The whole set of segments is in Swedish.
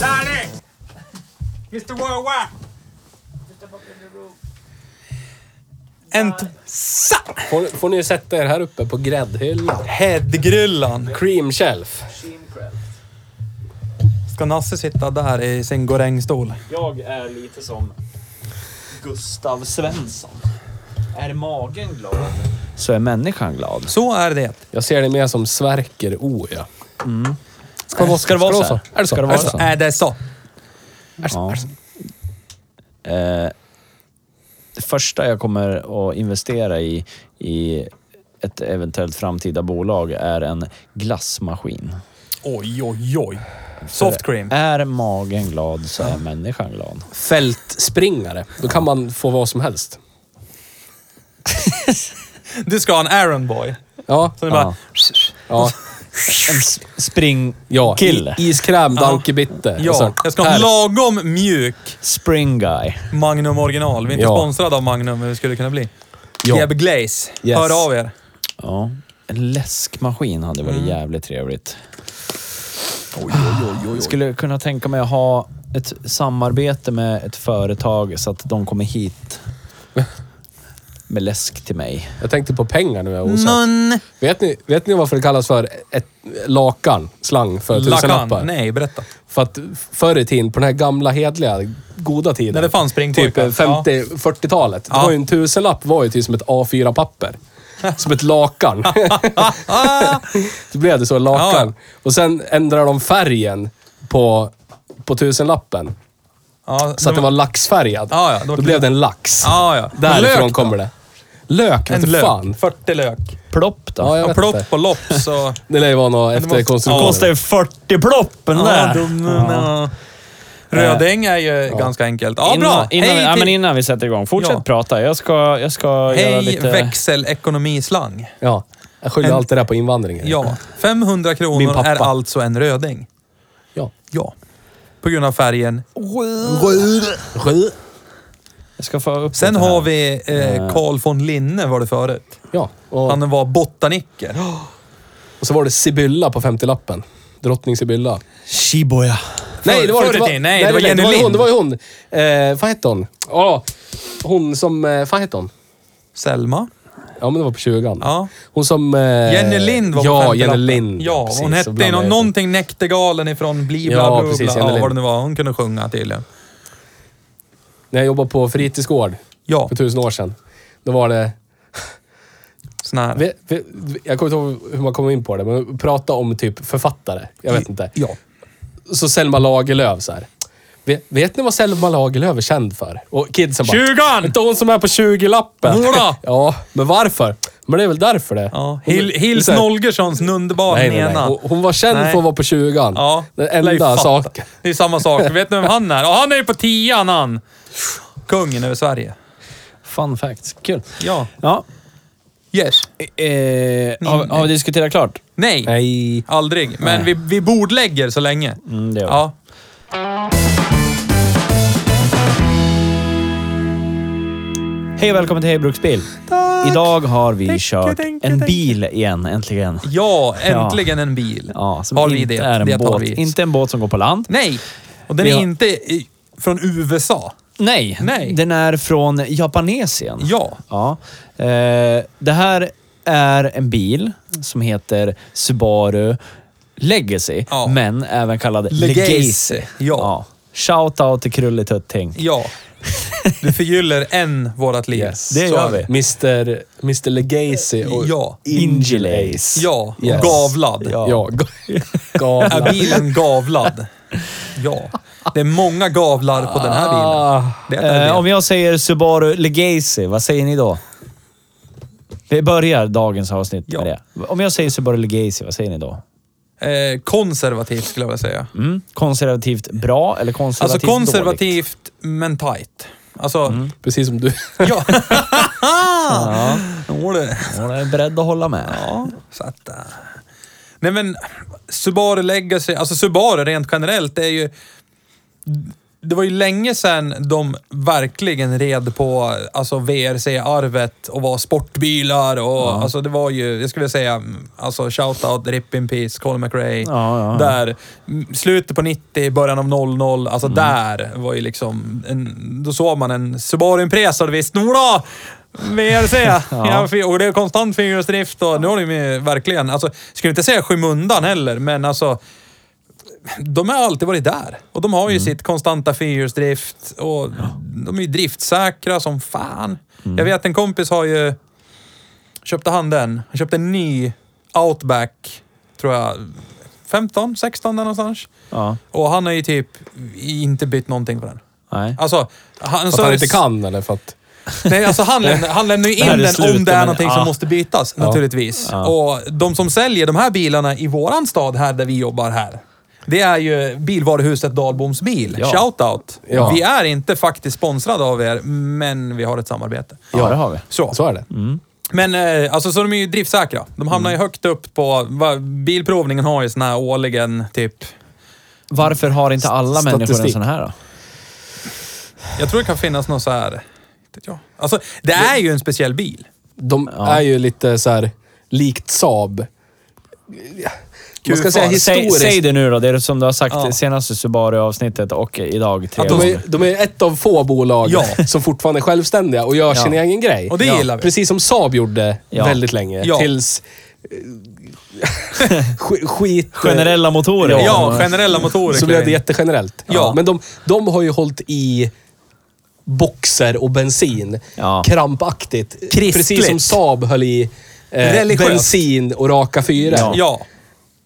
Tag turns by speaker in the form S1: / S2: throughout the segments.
S1: Danny! Mr Worldwide!
S2: En... t- Sa!
S3: Får, får ni sätta er här uppe på gräddhyllan.
S2: Headgryllan.
S3: Cream shelf.
S2: Ska Nasse sitta där i sin gorängstol?
S4: Jag är lite som Gustav Svensson. Är magen glad så är människan glad.
S2: Så är det.
S3: Jag ser det mer som Sverker O, ja.
S4: Ska det vara, ska det vara så? här?
S3: Är det så?
S4: Ska det
S3: Är
S4: vara
S3: det
S2: Är det
S3: så?
S4: så?
S2: så?
S4: Ja. Eh, Det första jag kommer att investera i, i ett eventuellt framtida bolag är en glassmaskin.
S2: Oj, oj, oj. Soft cream.
S4: Är magen glad så är människan glad.
S3: Fältspringare. Då kan man få vad som helst.
S2: Du ska ha en Aaron boy.
S3: Ja.
S2: Så det är bara...
S3: ja.
S4: En s- spring...
S3: ja.
S4: Kille.
S3: I, iskräm,
S2: Ja.
S3: dankebitter. Och
S2: Ja,
S3: sen-
S2: jag ska ha en
S3: Alltså, här.
S2: lagom mjuk
S4: Spring guy.
S2: Magnum original. Vi är inte
S3: Ja.
S2: sponsrade av Magnum, men vi skulle kunna bli.
S3: Ja.
S2: Jeb Glaze.
S3: Yes.
S2: Hör av er.
S4: Ja. En läskmaskin hade varit
S2: Mm.
S4: jävligt trevligt. Jag skulle kunna tänka mig att ha ett samarbete med ett företag så att de kommer hit med läsk till mig.
S3: Jag tänkte på pengar nu. Jag är osäker.
S2: Mun.
S3: Vet ni, vet ni varför det kallas för ett lakan? Slang för tusenlappar?
S2: Lakan. Nej, berätta.
S3: För att förr i tiden, på den här gamla hedliga, goda tiden.
S2: När det fanns
S3: Typ
S2: springpojkar.
S3: 50-40-talet.
S2: Ja.
S3: Det var ju en tusenlapp var ju typ som ett A4-papper. Som ett lakan.
S2: Ah,
S3: det blev det så, lakan.
S2: Ja.
S3: Och sen ändrade de färgen på, på tusenlappen.
S2: Ja,
S3: Så att det var laxfärgad.
S2: Mm. Ja, ja, det var-
S3: då blev det en lax.
S2: Ja, ja.
S3: Därifrån
S2: Lök då?
S3: kommer det. Lök,
S2: En
S3: vet du
S2: lök.
S3: fan.
S2: 40 lök.
S4: Plopp då.
S3: Ja, jag
S2: Ja,
S3: vet inte.
S2: plopp och lopp så...
S3: Det lär ju vara något
S2: måste-
S3: efterkonstruktion.
S4: Kostar ju 40 ploppen
S2: Ja,
S4: där.
S2: de- ja. Röding är ju ganska enkelt. Ja, bra.
S4: Innan, innan,
S2: Hej
S4: ja,
S2: till-
S4: men innan vi sätter igång, fortsätt
S2: Ja.
S4: prata. Jag ska, jag ska göra
S2: Hej
S4: lite...
S2: växelekonomislang.
S3: Ja. Jag skyller
S2: En-
S3: allt det där på invandringen.
S2: Ja, 500
S3: Min
S2: kronor
S3: pappa.
S2: är alltså en röding.
S3: ja.
S2: Ja. På grund av färgen.
S4: Jag ska få upp
S2: Sen
S4: lite här.
S2: har vi eh, Carl von Linne var det förut.
S3: Ja. Och,
S2: Han var botaniker.
S3: och så var det Sibylla på 50-lappen. Drottning Sibylla.
S4: Shibuya.
S3: Nej, det var
S2: förr
S3: det
S2: i
S3: inte. Va-
S2: tiden. Nej, det var Jenny
S3: det var ju hon.
S2: Lind.
S3: Det var ju hon. Eh, vad hette hon? Ja, hon som... Eh, vad hette hon?
S2: Selma.
S3: Ja, men det var på 20
S2: Ja.
S3: Hon som... Eh,
S2: Jenny Lind var
S3: Ja,
S2: på
S3: Jenny
S2: femtelappen.
S3: Lind.
S2: Ja,
S3: Precis,
S2: hon
S3: så
S2: hette
S3: blandade jag
S2: någon,
S3: ihop.
S2: någonting Näktergalen ifrån Bli bla
S3: Ja,
S2: bla bla. Ja,
S3: precis, Jenny
S2: vad det
S3: Lind.
S2: nu var. Hon kunde sjunga tydligen.
S3: När jag jobbade på fritidsgård
S2: Ja,
S3: för tusen år sedan. Då var det...
S2: sån här.
S3: vi- vi- vi- Jag kommer inte ihåg hur man kom in på det, men prata om typ författare. Jag vet inte.
S2: Ja.
S3: Så Selma Lagerlöf så här. Vet, vet ni vad Selma Lagerlöf är känd för? Och kidsen bara...
S2: Tjugan!
S3: Inte hon som är på 20-lappen.
S2: Jodå!
S3: ja, men varför? Men det är väl därför det.
S2: Ja.
S3: Hon-
S2: Hil- Hils
S3: så här-
S2: Nolgerssons underbara
S3: Nej, nej, nej.
S2: Nena.
S3: Hon, hon var känd
S2: Nej.
S3: för att vara på 20
S2: Ja.
S3: Den
S2: lär ju
S3: enda
S2: fatta.
S3: saken.
S2: Det är samma sak. Vet ni vem han är? Ja, han är ju på tian han. Kungen över Sverige.
S4: Fun facts. Kul.
S2: Ja.
S4: Ja.
S2: Yes.
S4: Eh, har, har vi diskuterat klart?
S2: Nej.
S3: Nej.
S2: Aldrig. Men vi, vi bordlägger så länge.
S4: Mm, det gör vi.
S2: Ja.
S4: Hej och välkommen till Hej Bruksbil. Idag har vi kört en bil igen, äntligen.
S2: Ja, äntligen en bil.
S4: Ja, som
S2: har
S4: inte
S2: vi det?
S4: är en
S2: det har
S4: båt.
S2: vi.
S4: Inte en båt som går på land.
S2: Nej. Och den
S4: Vi
S2: är
S4: har-
S2: inte i, från USA.
S4: Nej,
S2: Nej.
S4: den är från Japanesien.
S2: Ja.
S4: ja. Eh, det här är en bil som heter Subaru Legacy,
S2: Ja.
S4: men även kallad
S2: Legacy.
S4: Legacy.
S2: Ja.
S4: Shout out till Krulletutting.
S2: Ja. Vi förgyller en vårat liv.
S3: Yes.
S4: Det
S2: Så
S4: gör
S2: är
S4: vi.
S3: Mr, Mr Legacy och...
S2: Ja.
S4: Ingilace.
S2: Ja,
S3: Yes.
S2: gavlad.
S4: Ja.
S3: ja.
S2: Är
S3: Gavlar.
S2: bilen gavlad? Ja. Det är många gavlar på den här bilen.
S3: Ah,
S2: Det är det.
S4: Ah. Eh, om jag säger Subaru Legacy, vad säger ni då? Vi börjar dagens avsnitt
S2: Ja.
S4: med det. Om jag säger Subaru Legacy, vad säger ni då?
S2: Eh, konservativt skulle jag vilja säga.
S4: Mm. Konservativt bra eller konservativt
S2: Alltså
S4: dåligt? Mm.
S2: konservativt men tight. Alltså,
S3: Precis som du.
S2: ja. Jo, det.
S4: Hon är beredd att hålla med.
S2: Ja, så att... eh. Nej men, Subaru Legacy, alltså Subaru rent generellt, det är ju... Det var ju länge sedan de verkligen red på alltså VRC-arvet och var sportbilar och alltså det var ju, jag skulle vilja säga, mm, alltså shout-out, RIP in Peace, Colin McRae.
S4: ja, ja.
S2: Där, mm, slutet på 90, början av 00, alltså där var ju liksom, en, då såg man en Subaru Impreza och det visste, Nora! VRC! ja. fy- Och det är konstant fyrhjulsdrift och nu har de ju verkligen, alltså, skulle inte säga skymundan heller, men alltså de har alltid varit där. Och de har ju sitt konstanta fyrhjulsdrift och de är ju driftsäkra som fan. Jag vet en kompis har ju... Köpte han den? Han köpte en ny Outback, tror jag. 15, 16 där någonstans.
S4: Ja.
S2: Och han har ju typ inte bytt någonting på den.
S4: Nej.
S2: Alltså, han,
S3: För att han inte kan eller för att...
S2: Nej, alltså han, lämnar, han lämnar ju in
S4: Det här är
S2: den
S4: slut,
S2: om det är
S4: men-
S2: någonting
S4: ja.
S2: som måste bytas, naturligtvis. Och de som säljer de här bilarna i våran stad här där vi jobbar här, det är ju bilvaruhuset Dahlboms bil.
S4: Ja.
S2: Shoutout!
S3: Ja.
S2: Vi är inte faktiskt sponsrade av er, men vi har ett samarbete.
S4: Ja, det har vi.
S2: Så.
S3: Så är det.
S2: Men eh, alltså, så de är ju driftsäkra. De hamnar
S4: Mm.
S2: ju högt upp på... Va, bilprovningen har ju såna här årligen, typ...
S4: Varför har inte alla människor en
S3: Statistik.
S4: sån här då?
S2: Jag tror det kan finnas någon så här... vet inte jag. Alltså, det är ju en speciell bil.
S3: De är ju lite så här likt Saab. Man ska säga
S2: Q-far.
S4: Säg,
S3: historiskt.
S4: säg det nu då. Det är som du har sagt
S2: Ja.
S4: i senaste Subaru-avsnittet och idag. Tre
S3: Att de,
S4: gånger.
S3: är, de är ett av få bolag
S2: Ja.
S3: som fortfarande är självständiga och gör sin
S4: Ja.
S3: egen grej.
S2: Och det
S3: ja.
S2: gillar vi.
S3: Precis som Saab gjorde
S4: Ja.
S3: väldigt länge.
S2: Ja.
S3: Tills... eh, sk- skit... eh,
S4: Generella motorer.
S2: Ja, generella motorer.
S3: Så
S2: klev
S3: blev det
S2: in.
S3: jättegenerellt.
S2: Ja.
S3: Men de, de har ju hållit i boxer och bensin.
S4: Ja.
S3: Krampaktigt.
S2: Kristligt.
S3: Precis som Saab höll i eh,
S2: Religiöst.
S3: bensin och raka fyror.
S4: Ja.
S2: Ja.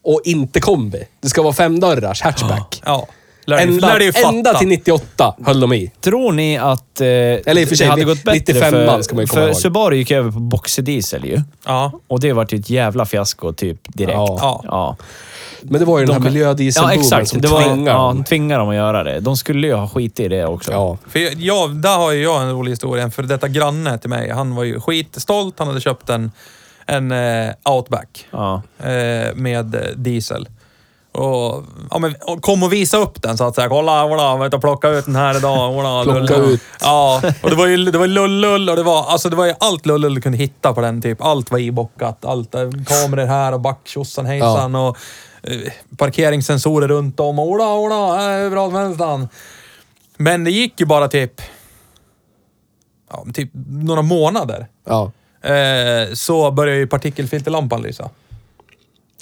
S3: Och inte kombi. Det ska vara femdörrars hatchback.
S2: Ja. Lär dig,
S3: Ända,
S2: lär dig fatta.
S3: ända till 98 höll de i.
S4: Tror ni att eh, Eller
S3: i och för sig,
S4: det hade
S3: ni-
S4: gått bättre
S3: 95an
S4: för,
S3: ska man ju komma
S4: för
S3: ihåg.
S4: Subaru gick över på boxerdiesel ju.
S2: Ja.
S4: Och det vart ju ett jävla fiasko typ direkt.
S3: Ja.
S2: Ja.
S3: Men det var ju den här
S4: ja
S3: miljödieselboomen
S4: exakt.
S3: som
S4: det var,
S3: tvingade
S4: ja,
S3: dem.
S4: tvingar dem att göra det. De skulle ju ha skit i det också.
S3: Ja.
S2: För jag, jag, där har ju jag en rolig historia. En för detta granne till mig, han var ju skitstolt. Han hade köpt en, en eh, Outback
S4: Ja.
S2: eh, med eh, diesel. Och, ja, men, och kom och visa upp den så att säga. Kolla, kolla, jag var ute och plocka ut den här idag. Kolla,
S3: Plocka
S2: lull.
S3: ut.
S2: Ja, och det var ju det var ju lull-lull och det var, alltså, det var ju allt lull-lull du kunde hitta på den typ. Allt var ibockat. Allt, eh, kameror här och backtjosan hejsan och eh, parkeringssensorer runt om. Och, Ola, ola, eh, överallt vänster. Men det gick ju bara typ, ja, typ några månader
S3: Ja.
S2: eh, så började ju partikelfilterlampan lysa.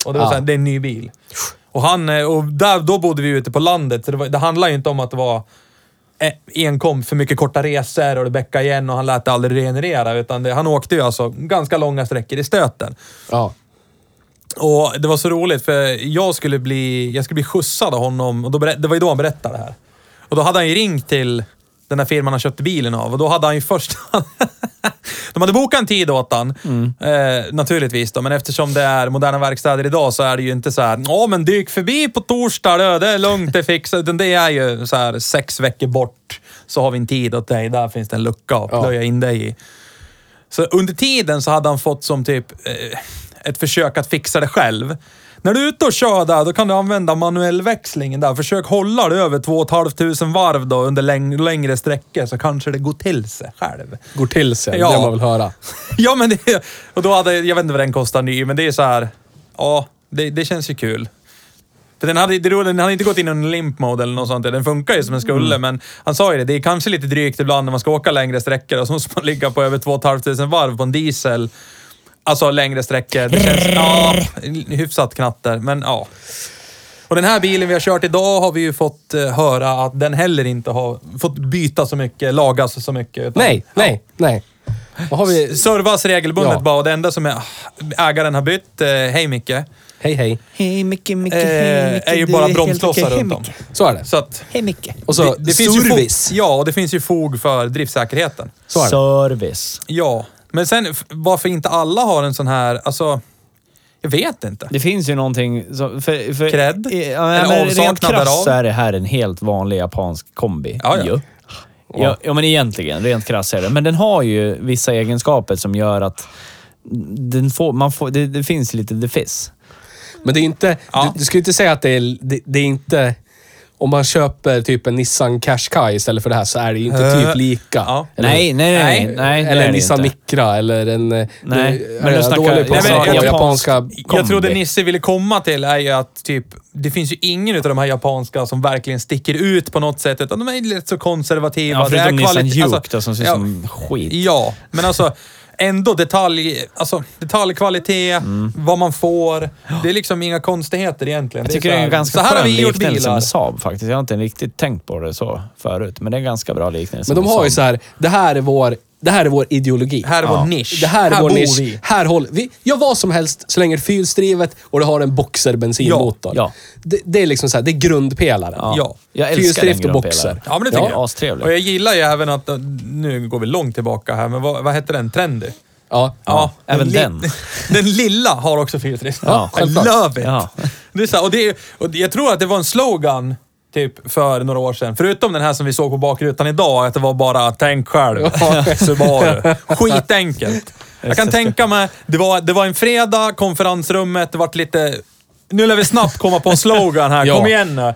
S2: Och det var
S3: Ah.
S2: såhär, det är en ny bil. Och, han, eh, och där, då bodde vi ute på landet, så det, var, det handlade ju inte om att det var eh, enkom för mycket korta resor och det bäckade igen och han lät det aldrig regenerera. Utan det, han åkte ju alltså ganska långa sträckor i stöten.
S3: ja.
S2: Och det var så roligt för jag skulle bli, jag skulle bli skjutsad av honom och då berä- det var ju då han berättade det här. Och då hade han ju ringt till den här firman han köpte bilen av och då hade han ju först... De hade bokat en tid åt han, eh, naturligtvis då, men eftersom det är moderna verkstäder idag så är det ju inte så här, ja men dyk förbi på torsdag då, det är lugnt, det fixar Utan det är ju så här sex veckor bort så har vi en tid åt dig, där finns det en lucka och
S3: Ja.
S2: plöja in dig i. Så under tiden så hade han fått som typ eh, ett försök att fixa det själv. När du är ute och kör där, då kan du använda manuellväxlingen där. Försök hålla det över 2 500 varv då under läng- längre sträckor så kanske det går till sig själv.
S3: Går till sig.
S2: Ja.
S3: Det man vill höra.
S2: Ja, men det... Och då hade... Jag vet inte vad den kostar ny, men det är så här... Ja, det, det känns ju kul. För den hade, det roliga, den hade inte gått in i en limp mode eller något sånt. där. Den funkar ju som den skulle, men han sa ju det. Det är kanske lite drygt ibland när man ska åka längre sträckor och så måste man ligga på över 2 500 varv på en diesel. Alltså längre sträckor. Det känns, ja, hyfsat knatter, men ja. Och den här bilen vi har kört idag har vi ju fått eh, höra att den heller inte har fått byta så mycket, lagas så mycket. utan-
S3: Nej, nej, nej. Vad har vi?
S2: Servas regelbundet
S3: Ja.
S2: bara och det enda som är, ägaren har bytt, eh, hej Micke, eh,
S3: Hej, hej.
S4: Hej Micke, Micke,
S3: Eh,
S2: är ju bara bromsklossar runt om.
S3: Så är det.
S2: Så att,
S4: Hej Micke.
S3: Och så
S2: det, det finns ju
S3: service.
S2: fog, Ja, och det finns ju fog för driftsäkerheten.
S3: Så är det.
S4: Service.
S2: Ja, men sen f- varför inte alla har en sån här, alltså, jag vet inte.
S4: Det finns ju någonting som... För, för,
S2: Cred?
S4: i- Ja,
S2: Eller
S4: men rent
S2: avsaknad därav?
S4: krasst så är det här en helt vanlig japansk kombi.
S2: Ja, ja.
S4: Ju. Ja, ja, men egentligen. Rent krasst är det. Men den har ju vissa egenskaper som gör att den får, man får, det, det finns lite defiss.
S3: Men det är inte...
S2: Ja.
S3: Du, du skulle inte säga att det är... Det, det är inte... Om man köper typ en Nissan Qashqai istället för det här så är det ju inte
S2: Eh,
S3: typ lika.
S2: ja.
S3: Eller-
S4: Nej, nej, nej. nej, nej det är
S3: eller
S4: det
S3: en Nissan
S4: inte.
S3: Micra eller en... eh,
S4: Nej,
S3: du-
S4: men
S3: är
S4: du
S3: jag
S4: snackar-
S3: dålig på
S2: Nej, men
S3: saker,
S2: japansk-
S3: japanska...
S2: Jag trodde Nisse ville komma till är ju att typ, det finns ju ingen av de här japanska som verkligen sticker ut på något sätt, utan de är rätt så konservativa.
S4: Ja, förutom
S2: Det är
S4: Nissan
S2: kvalit-
S4: Juke
S2: alltså,
S4: då, som ser ut
S2: ja,
S4: som skit.
S2: Ja, men alltså ändå detalj, alltså, detaljkvalitet, vad man får. Det är liksom inga konstigheter egentligen.
S4: Mm. Jag
S2: det så
S4: tycker det är
S2: här,
S4: en ganska
S2: så här har
S4: skön
S2: vi gjort
S4: liknelse
S2: bilar.
S4: med Saab faktiskt. Jag har inte riktigt tänkt på det så förut, men det är en ganska bra liknelse
S3: Men de
S4: med
S3: har ju
S4: Saab.
S3: så här, det här är vår, det här är vår ideologi.
S2: Här är vår
S4: Ja.
S2: nisch.
S3: det här är vår
S2: bor
S3: nisch.
S2: vi.
S3: Här håller vi. Gör vad som helst så länge det är fyrhjulsdrivet och det har en boxerbensinmotor.
S4: Ja, ja.
S3: Det, det är liksom så här, det är grundpelaren.
S2: Ja.
S4: Jag älskar
S3: Fyrhjulsdrift
S4: den
S3: och
S4: grundpelaren.
S3: boxer.
S2: Ja, men det tycker jag.
S4: Astrevlig.
S2: Och jag gillar ju även att, nu går vi långt tillbaka här, men vad, vad hette den? Trendy?
S3: Ja.
S2: Ja,
S4: även
S2: li-
S4: den.
S2: Den lilla har också fyrhjulsdrift.
S4: Ja,
S2: I
S3: självklart.
S2: love it!
S4: Ja.
S2: Det är så här, och det är, och jag tror att det var en slogan typ för några år sedan. Förutom den här som vi såg på bakrutan idag, att det var bara “Tänk själv, Subaru”. Skitenkelt. Jag kan tänka mig, det var, det var en fredag, konferensrummet, det vart lite... Nu lär vi snabbt komma på en slogan här,
S3: Ja.
S2: kom igen nu.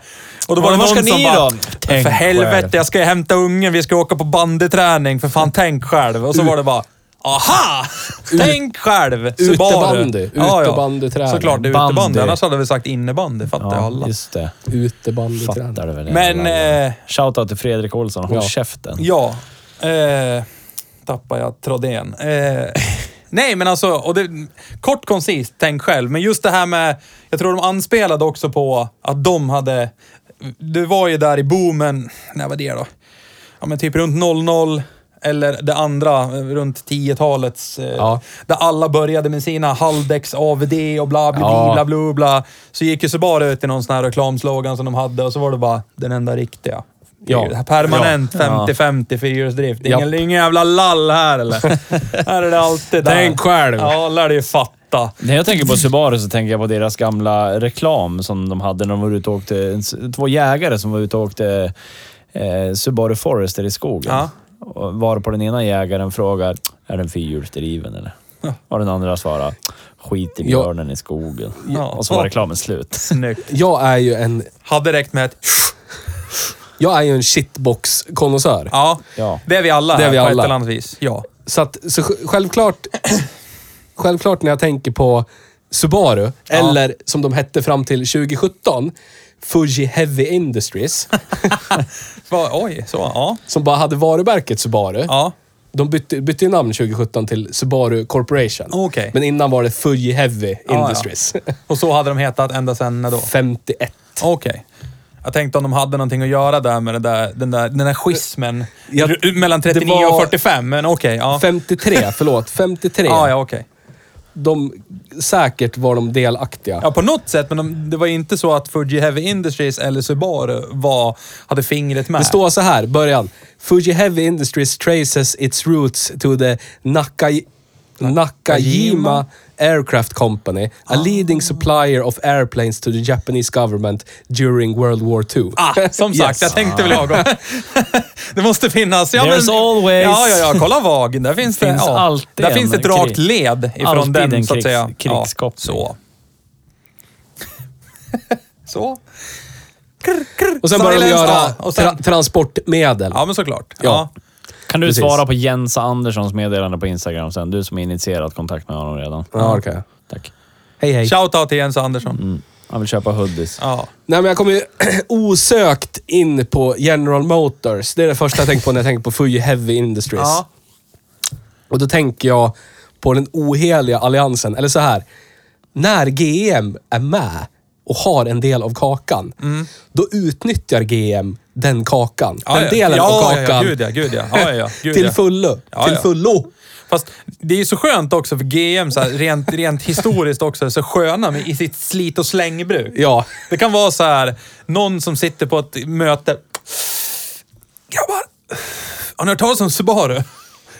S2: Och då var det
S4: Men vad
S2: någon
S4: ska
S2: som
S4: ni
S2: bara,
S4: då?
S2: för
S4: Tänk
S2: helvete,
S4: själv."
S2: jag ska ju hämta ungen, vi ska åka på bandeträning, för fan tänk själv. Och så var det bara, aha! Tänk själv! Subaru.
S3: Utebandy.
S2: Ja, ja.
S3: Utebandyträning.
S2: Såklart, det är utebandy.
S4: Bandy.
S2: Annars hade vi sagt innebandy, fattar
S4: Ja,
S2: alla.
S4: just det.
S3: Utebandyträning.
S4: Fattar du väl?
S2: Men, eh,
S4: Shoutout till Fredrik Olsson. Håll
S3: Ja.
S4: käften.
S2: ja. Eh, tappar jag tråden. Eh, nej, men alltså, och det, kort koncist, tänk själv. Men just det här med, jag tror de anspelade också på att de hade, du var ju där i boomen, när var det då? Ja, men typ runt 00. Eller det andra, eh, runt 10-talets. eh,
S3: Ja.
S2: Där alla började med sina Haldex AVD och bla bla
S3: Ja.
S2: bla bla bla. Så gick ju så bara ut i någon sån här reklamslogan som de hade och så var det bara den enda riktiga.
S3: Ja.
S2: Det här Permanent 50-50 fyrhjulsdrift. Ingen, ingen jävla lall här eller? här är det alltid där.
S3: Tänk själv.
S2: Ja, lär dig ju fatta.
S4: När jag tänker på Subaru så tänker jag på deras gamla reklam som de hade när de var ute och åkte. en- Två jägare som var ute och åkte eh, Subaru Forester i skogen.
S2: Ja.
S4: Och Var på den ena jägaren frågar, är den fyrhjulsdriven eller? Och den andra svarar, skit i
S3: Ja.
S4: björnen i skogen.
S2: Ja.
S4: Och så var reklamen slut.
S2: Snyggt.
S3: Jag är ju en,
S2: Hade räckt med ett
S3: jag är ju en shitbox-konnässör.
S2: ja.
S4: Ja.
S2: Det är vi alla
S3: Det är
S2: här
S3: vi
S2: på
S3: alla.
S2: ett eller annat vis. Ja.
S3: Så, att, så sj- självklart, självklart när jag tänker på Subaru, eller som de hette fram till 2017, Fuji Heavy Industries,
S2: Va, oj, så. Ja.
S3: som bara hade varumärket Subaru.
S2: Ja.
S3: De bytte, bytte ju namn 2017 till Subaru Corporation.
S2: Okej.
S3: Men innan var det Fuji Heavy
S2: ja.
S3: Industries.
S2: Och så hade de hetat ända sedan när då?
S3: 51.
S2: Okej. Jag tänkte om de hade någonting att göra där med det där, den, där, den där schismen
S3: Ja,
S2: r- mellan 39
S3: det var-
S2: och 45, men okej. ja.
S3: 53, förlåt. 53.
S2: Ja, ja, okej.
S3: De, säkert var de delaktiga.
S2: Ja, på något sätt, men de, det var ju inte så att Fuji Heavy Industries eller Subaru var, hade fingret med.
S3: Det står så här, början. Fuji Heavy Industries traces its roots to the Nakai- Nakajima Aircraft Company,
S2: Ah.
S3: a leading supplier of airplanes to the Japanese government during World War II.
S2: Ah, som sagt, jag tänkte väl lagom. det måste finnas. Ja,
S4: There's always-
S2: Ja, ja, ja. Kolla VAG. Där finns,
S4: Finns
S2: det, ja,
S4: alltid
S2: där finns
S4: en
S2: ett rakt
S4: krig.
S2: led ifrån
S4: Alltid
S2: den,
S4: en
S2: så att
S4: krigs-
S2: säga.
S4: krigskoppling.
S2: så. så.
S3: Och sen började de
S2: Silence,
S3: göra
S2: ja, och sen-
S3: tra- transportmedel.
S2: Ja, men såklart.
S3: Ja.
S2: Ja.
S4: Kan du
S3: Precis.
S4: svara på Jens Anderssons meddelande på Instagram sen? Du som har initierat kontakt med honom redan.
S3: Ja, det kan jag.
S4: Tack.
S3: Hej, hej.
S2: Shoutout till Jens Andersson.
S4: Han vill köpa hoodies.
S2: Ja.
S3: Nej, men jag kommer ju osökt in på General Motors. Det är det första jag tänker på när jag tänker på Fuji Heavy Industries.
S2: ja.
S3: Och då tänker jag på den oheliga alliansen. Eller så här. När GM är med och har en del av kakan, då utnyttjar GM den kakan.
S2: Mm. Ja,
S3: den
S2: ja.
S3: delen
S2: ja,
S3: av kakan.
S2: Ja, ja, gud ja, gud ja. ja, ja, ja gud,
S3: till
S2: ja.
S3: fullo.
S2: Ja,
S3: till
S2: ja.
S3: fullo.
S2: Fast det är ju så skönt också för GM, så här, rent, rent historiskt också, så sköna med, i sitt slit och slängbruk.
S3: Ja.
S2: Det kan vara så här, någon som sitter på ett möte. Grabbar, har ni hört talas om Subaru?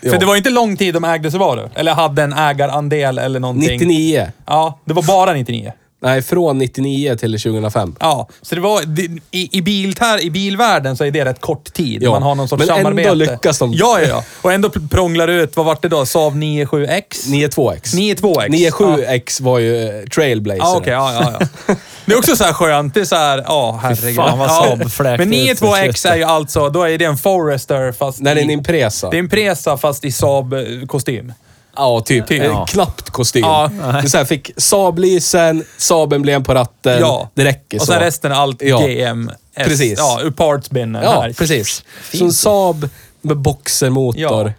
S3: Ja.
S2: För det var inte lång tid de ägde Subaru. Eller hade en ägarandel eller någonting.
S3: 99.
S2: Ja, det var bara 99.
S3: Nej, från 99 till 2005.
S2: Ja, så det var, det, i, i, biltär, i bilvärlden så är det rätt kort tid.
S3: Ja,
S2: Man har någon sorts
S3: men ändå
S2: samarbete.
S3: lyckas de.
S2: Ja, ja, ja. Och ändå pr- prånglar det ut, vad vart det då? Saab 97X?
S3: 92X.
S2: 92X.
S3: 97X var ju eh, trailblazer.
S2: Ja, Ah, okej. ja, ja, ja. Det är också så här skönt. Det är så här, ja, herregud.
S4: fan vad
S2: ja.
S4: Saab fläkte
S2: Men
S4: ut för
S2: 92X är ju alltså, då är det en Forester fast...
S3: När det är en
S2: i-
S3: Impresa.
S2: Det är en Presa fast i Saab-kostym.
S3: Ja, typ.
S2: Typ.
S3: Eh,
S2: Ja.
S3: Knappt kostym.
S2: Ja.
S3: Det är så här, fick Saab-lysen, Saab-emblem på ratten.
S2: Ja.
S3: Det räcker så.
S2: Och sen resten är allt
S3: Ja.
S2: GM. S,
S3: Precis.
S2: Ja, ur partsbinnen
S3: Ja,
S2: här.
S3: precis. Så en Saab med boxermotor.
S2: Ja.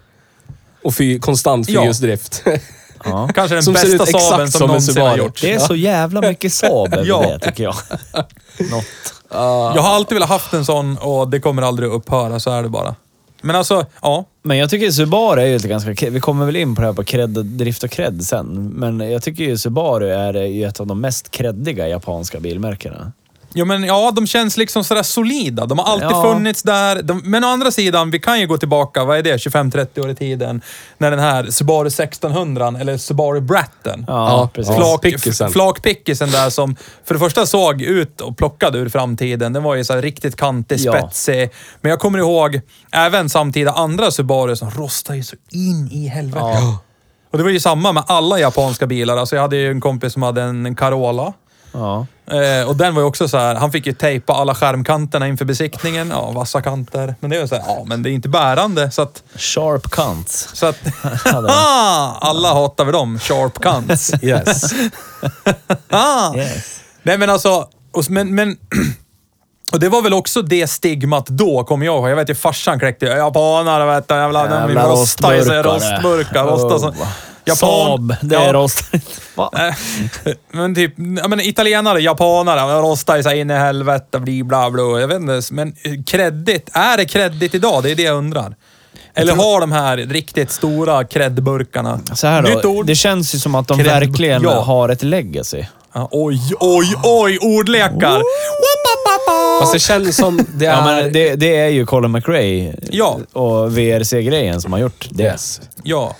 S3: Och fy, konstant
S2: Ja.
S3: fyrhjulsdrift.
S4: Ja.
S2: Kanske den
S3: Som ser
S2: bästa
S3: ut exakt
S2: Saaben som,
S3: som en
S2: någonsin har
S3: Subaru.
S2: gjorts.
S4: Det är så jävla mycket Saab över
S2: Ja.
S4: det, tycker jag. Något.
S2: Jag har alltid velat haft en sån och det kommer aldrig att upphöra, så är det bara. Men alltså, ja.
S4: Men jag tycker Subaru är ju ett ganska... Vi kommer väl in på det här på cred, och- drift och cred sen, men jag tycker ju Subaru är ju ett av de mest creddiga japanska bilmärkena.
S2: Jo, men ja, de känns liksom sådär solida. De har alltid
S4: Ja.
S2: funnits där. De, men å andra sidan, vi kan ju gå tillbaka, vad är det, 25-30 år i tiden, när den här Subaru 1600, eller Subaru Bratten,
S4: Ja,
S3: Ja,
S4: precis.
S3: klart.
S2: flak-
S3: Pickisen.
S2: f- Flakpickisen där som för det första såg ut och plockade ur framtiden. Den var ju så här riktigt kantig,
S4: Ja.
S2: spetsig. Men jag kommer ihåg även samtida andra Subaru som rostade ju så in i helvete. Och det var ju samma med alla japanska bilar. Alltså jag hade ju en kompis som hade en Carola.
S4: Ja.
S2: Eh, och den var ju också så här, han fick ju tejpa alla skärmkanterna inför besiktningen. Ja, vassa kanter. Men det är ju så här, ja men det är inte bärande så att...
S4: Sharp kant.
S2: Så att ah, alla hatar vi dem, sharp cunts.
S3: Yes.
S2: Ah.
S4: Yes.
S2: Nej men alltså, och, s- men, men, och det var väl också det stigmat då, kommer jag ihåg. Jag vet ju farsan kläckte ju. Japaner vet du, jävla, de
S4: Jävla
S2: rostar ju sig.
S4: rostburkare."
S2: Rostburkar, rostar som...
S4: Oh.
S2: alltså. Japan-
S4: Saab, det
S2: Ja.
S4: är rost. Va?
S2: Eh, men typ, ja, men italienare, japanare, de rostar ju sig in i helvete, bli bla bla. Jag vet inte, men eh, kredit, är det kredit idag? Det är det jag undrar. Eller har de här riktigt stora kreddburkarna?
S4: Så här
S2: Nytt
S4: då,
S2: ord.
S4: det känns ju som att de
S2: Cred-
S4: verkligen
S2: Ja.
S4: har ett legacy.
S2: Ja, oj, oj, oj, ordlekar! Wapapapa.
S3: Fast det känns som det är...
S4: Ja, men det, det är ju Colin McRae
S2: Ja.
S4: och VRC-grejen som har gjort det.
S3: Yes.
S2: Ja.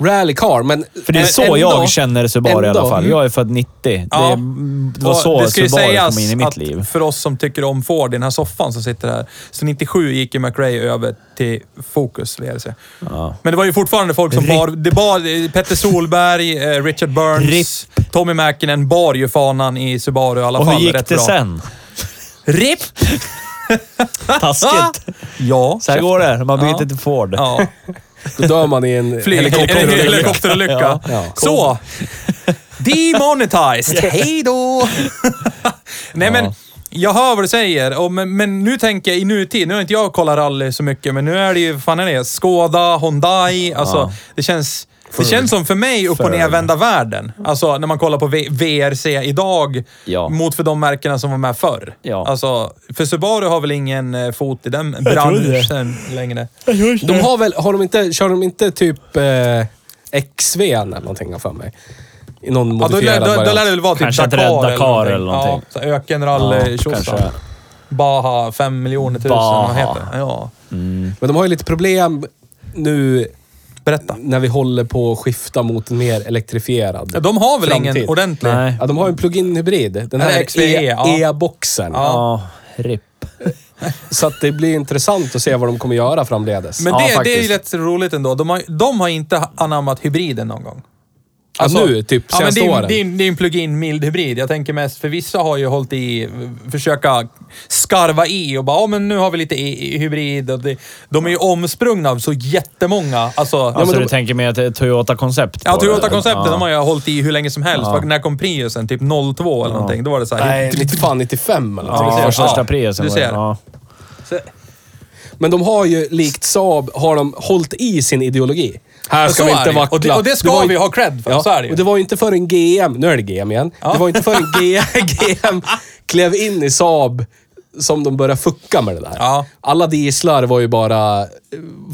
S3: Rallycar, men...
S4: För det är
S3: men
S4: så
S3: ändå-
S4: jag känner Subaru i alla
S3: ändå.
S4: fall. Jag är född 90.
S2: Ja.
S4: Det, det var
S2: Och
S4: så
S2: det ska ju
S4: Subaru
S2: sägas
S4: kom in i mitt
S2: att
S4: liv.
S2: för oss som tycker om Ford i den här soffan som sitter här, så 97 gick ju McRae över till Focus VRC.
S4: Ja.
S2: Men det var ju fortfarande folk som bar... Det bar eh, Petter Solberg, eh, Richard Burns, Tommy Mäkinen bar ju fanan i Subaru i alla
S4: Och
S2: fall.
S4: hur gick
S2: rätt
S4: det
S2: bra.
S4: sen?
S2: RIP!
S4: Taskigt.
S2: Ja.
S4: Så här går det när man byter
S2: Ja.
S4: till Ford.
S2: Ja.
S3: Då dör man i en
S2: Flyg, helikopterolycka.
S3: helikopterolycka.
S2: helikopterolycka.
S3: Ja.
S2: Så! Demonetized! Hej då! Nej men, jag hör vad du säger. Och, men, men nu tänker jag i nutid, nu har inte jag kollat rally så mycket, men nu är det ju, vad fan är det? Skoda, Hyundai, alltså det känns... Det känns som för mig upp och nervända världen. Alltså när man kollar på V- VRC idag
S4: Ja.
S2: mot för de märkena som var med förr.
S4: Ja.
S2: Alltså, för Subaru har väl ingen eh, fot i den
S4: tror det.
S2: branschen längre.
S3: De har väl, har de inte, kör de inte typ eh, XV eller någonting har jag för mig? I någon
S2: Ja, då, lär-
S3: modifierad
S2: då, då lär det
S3: variant.
S2: väl vara typ
S4: Kanske att
S2: Dakar,
S4: rädda Dakar eller någonting.
S2: Ja, så ökenrally
S4: Ja,
S2: tjosan.
S4: kanske.
S2: Baha, fem miljoner tusen.
S4: Baha.
S2: Vad heter det? Ja.
S3: Men de har ju lite problem nu
S2: Berätta.
S3: när vi håller på att skifta mot en mer
S2: Ja,
S3: elektrifierad.
S2: De har väl
S3: Framtid.
S2: ingen ordentlig...
S4: Nej.
S3: Ja, de har ju en plug-in hybrid. Den
S2: Ja,
S3: här E-
S2: XVE, E, ja.
S3: E-boxen.
S4: Ja, RIP.
S3: Så att det blir intressant att se vad de kommer göra framledes.
S2: Men
S4: Ja,
S2: det, det är ju
S4: faktiskt.
S2: rätt roligt ändå. De har, de har inte anammat hybriden någon gång. Alltså,
S3: Ja, nu, typ
S2: ja, men
S3: senaste
S2: det, är,
S3: åren.
S2: det, är, det är en plug-in mild hybrid. Jag tänker mest, för vissa har ju hållit i, försöka skarva i och bara, ja men nu har vi lite i, i hybrid. Och det, de är ju omsprungna av så jättemånga. Alltså,
S4: Alltså
S3: men
S4: du
S3: de-
S4: tänker mer att det är Toyota-koncept?
S2: Ja,
S4: på det,
S2: Toyota-konceptet
S4: eller?
S2: de har jag hållit i hur länge som helst. För När kom Priusen? Typ 02 eller någonting. Då var det så här.
S3: Nej, 95 eller något.
S2: Ja,
S4: Ja,
S2: du ser.
S4: första
S2: Ja,
S4: prisen.
S2: du
S4: var det.
S2: ser.
S4: Ja.
S2: Så,
S3: Men de har ju, likt Saab, har de hållit i sin ideologi. Här
S2: Och
S3: ska
S2: så
S3: vi
S2: är
S3: inte
S2: det.
S3: vackla.
S2: Och det- och det ska
S3: var ju-
S2: vi ha cred för, så är det ju.
S3: Och det var ju inte förrän GM, nu är det GM igen. Det var ju inte förrän GM, GM klev in i Saab som de började fucka med det där.
S2: Ja.
S3: Alla dieslar var ju bara, eh,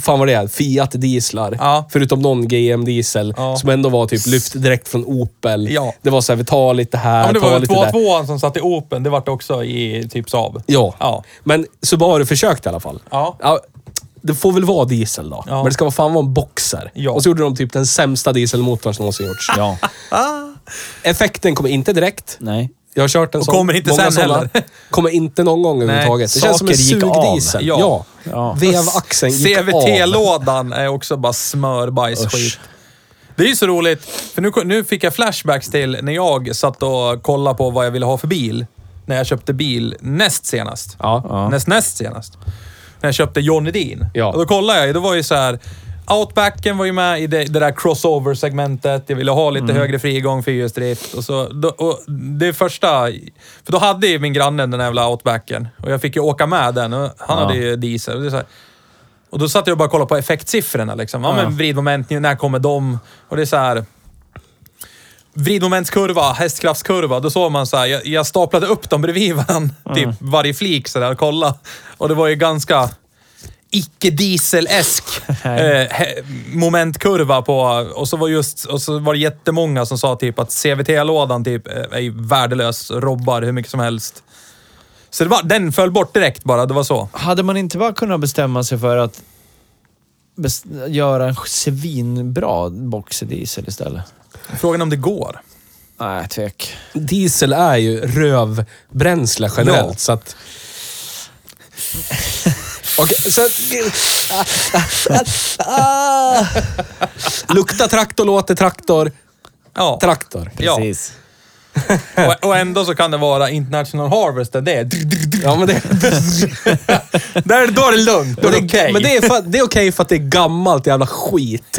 S3: fan vad det är, Fiat-dieslar.
S2: Ja.
S3: Förutom någon GM-diesel
S2: Ja.
S3: som ändå var typ lyft direkt från Opel.
S2: Ja.
S3: Det var så här, vi tar lite här,
S2: Ja, men det
S3: tar
S2: var ju
S3: lite där.
S2: 2-2 som satt i Open. Det vart också i typ Saab.
S3: Ja.
S2: Ja.
S3: Men Subaru försökte i alla fall.
S2: Ja.
S3: det får väl vara diesel då.
S2: Ja.
S3: Men det ska vara fan vara en boxer.
S2: Ja.
S3: Och så gjorde de typ den sämsta dieselmotorn som någonsin gjorts.
S4: Ja.
S3: Effekten kommer inte direkt.
S4: Nej.
S3: Jag har kört en
S2: Och
S3: sån.
S2: kommer inte sen heller.
S3: Kommer inte någon gång överhuvudtaget. Det känns som en
S4: saker gick av.
S3: sugdiesel.
S2: Ja.
S3: Ja.
S4: Ja.
S3: Vevaxeln gick av.
S2: CVT-lådan är också bara smörbajsskit.
S4: Usch.
S2: Det är ju så roligt, för nu, nu fick jag flashbacks till när jag satt och kollade på vad jag ville ha för bil. När jag köpte bil näst senast.
S3: Ja.
S2: Näst näst senast. När jag köpte Johnny Dean.
S3: Ja.
S2: Och då kollade jag ju, då var ju så här... Outbacken var ju med i det, det där crossover-segmentet. Jag ville ha lite högre frigång, fyrhjulsdrift. Och så, då, och det första... För då hade ju min granne den där jävla outbacken. Och jag fick ju åka med den. Och han
S4: Ja.
S2: hade ju diesel. Och, det är så här, och då satt jag och bara kollade på effektsiffrorna. Liksom. Ja, men vridmoment, när kommer de? Och det är så här vridmomentskurva, hästkraftskurva, då såg man så här, jag, jag staplade upp dem bredvid varandra, typ varje flik så där, och kolla. Och det var ju ganska icke-diesel-esk eh, he- momentkurva på, och så var just, och så var det jättemånga som sa typ att CVT-lådan typ eh, är ju värdelös, robbar hur mycket som helst. Så det var, den föll bort direkt bara, det var så.
S4: Hade man inte bara kunnat bestämma sig för att bes- göra en svinbra boxerdiesel istället?
S2: Frågan om det går.
S4: Nej, tvek.
S3: Diesel är ju rövbränsle generellt,
S2: Ja.
S3: så att... Okej, så att... Lukta traktor, låter traktor,
S2: Ja.
S3: traktor.
S2: Ja. Och, och ändå så kan det vara International Harvester, det är...
S3: Ja, men det,
S2: Där, då är det lugnt. Då är det okej.
S3: Men det är, för, det är okej för att det är gammalt jävla skit.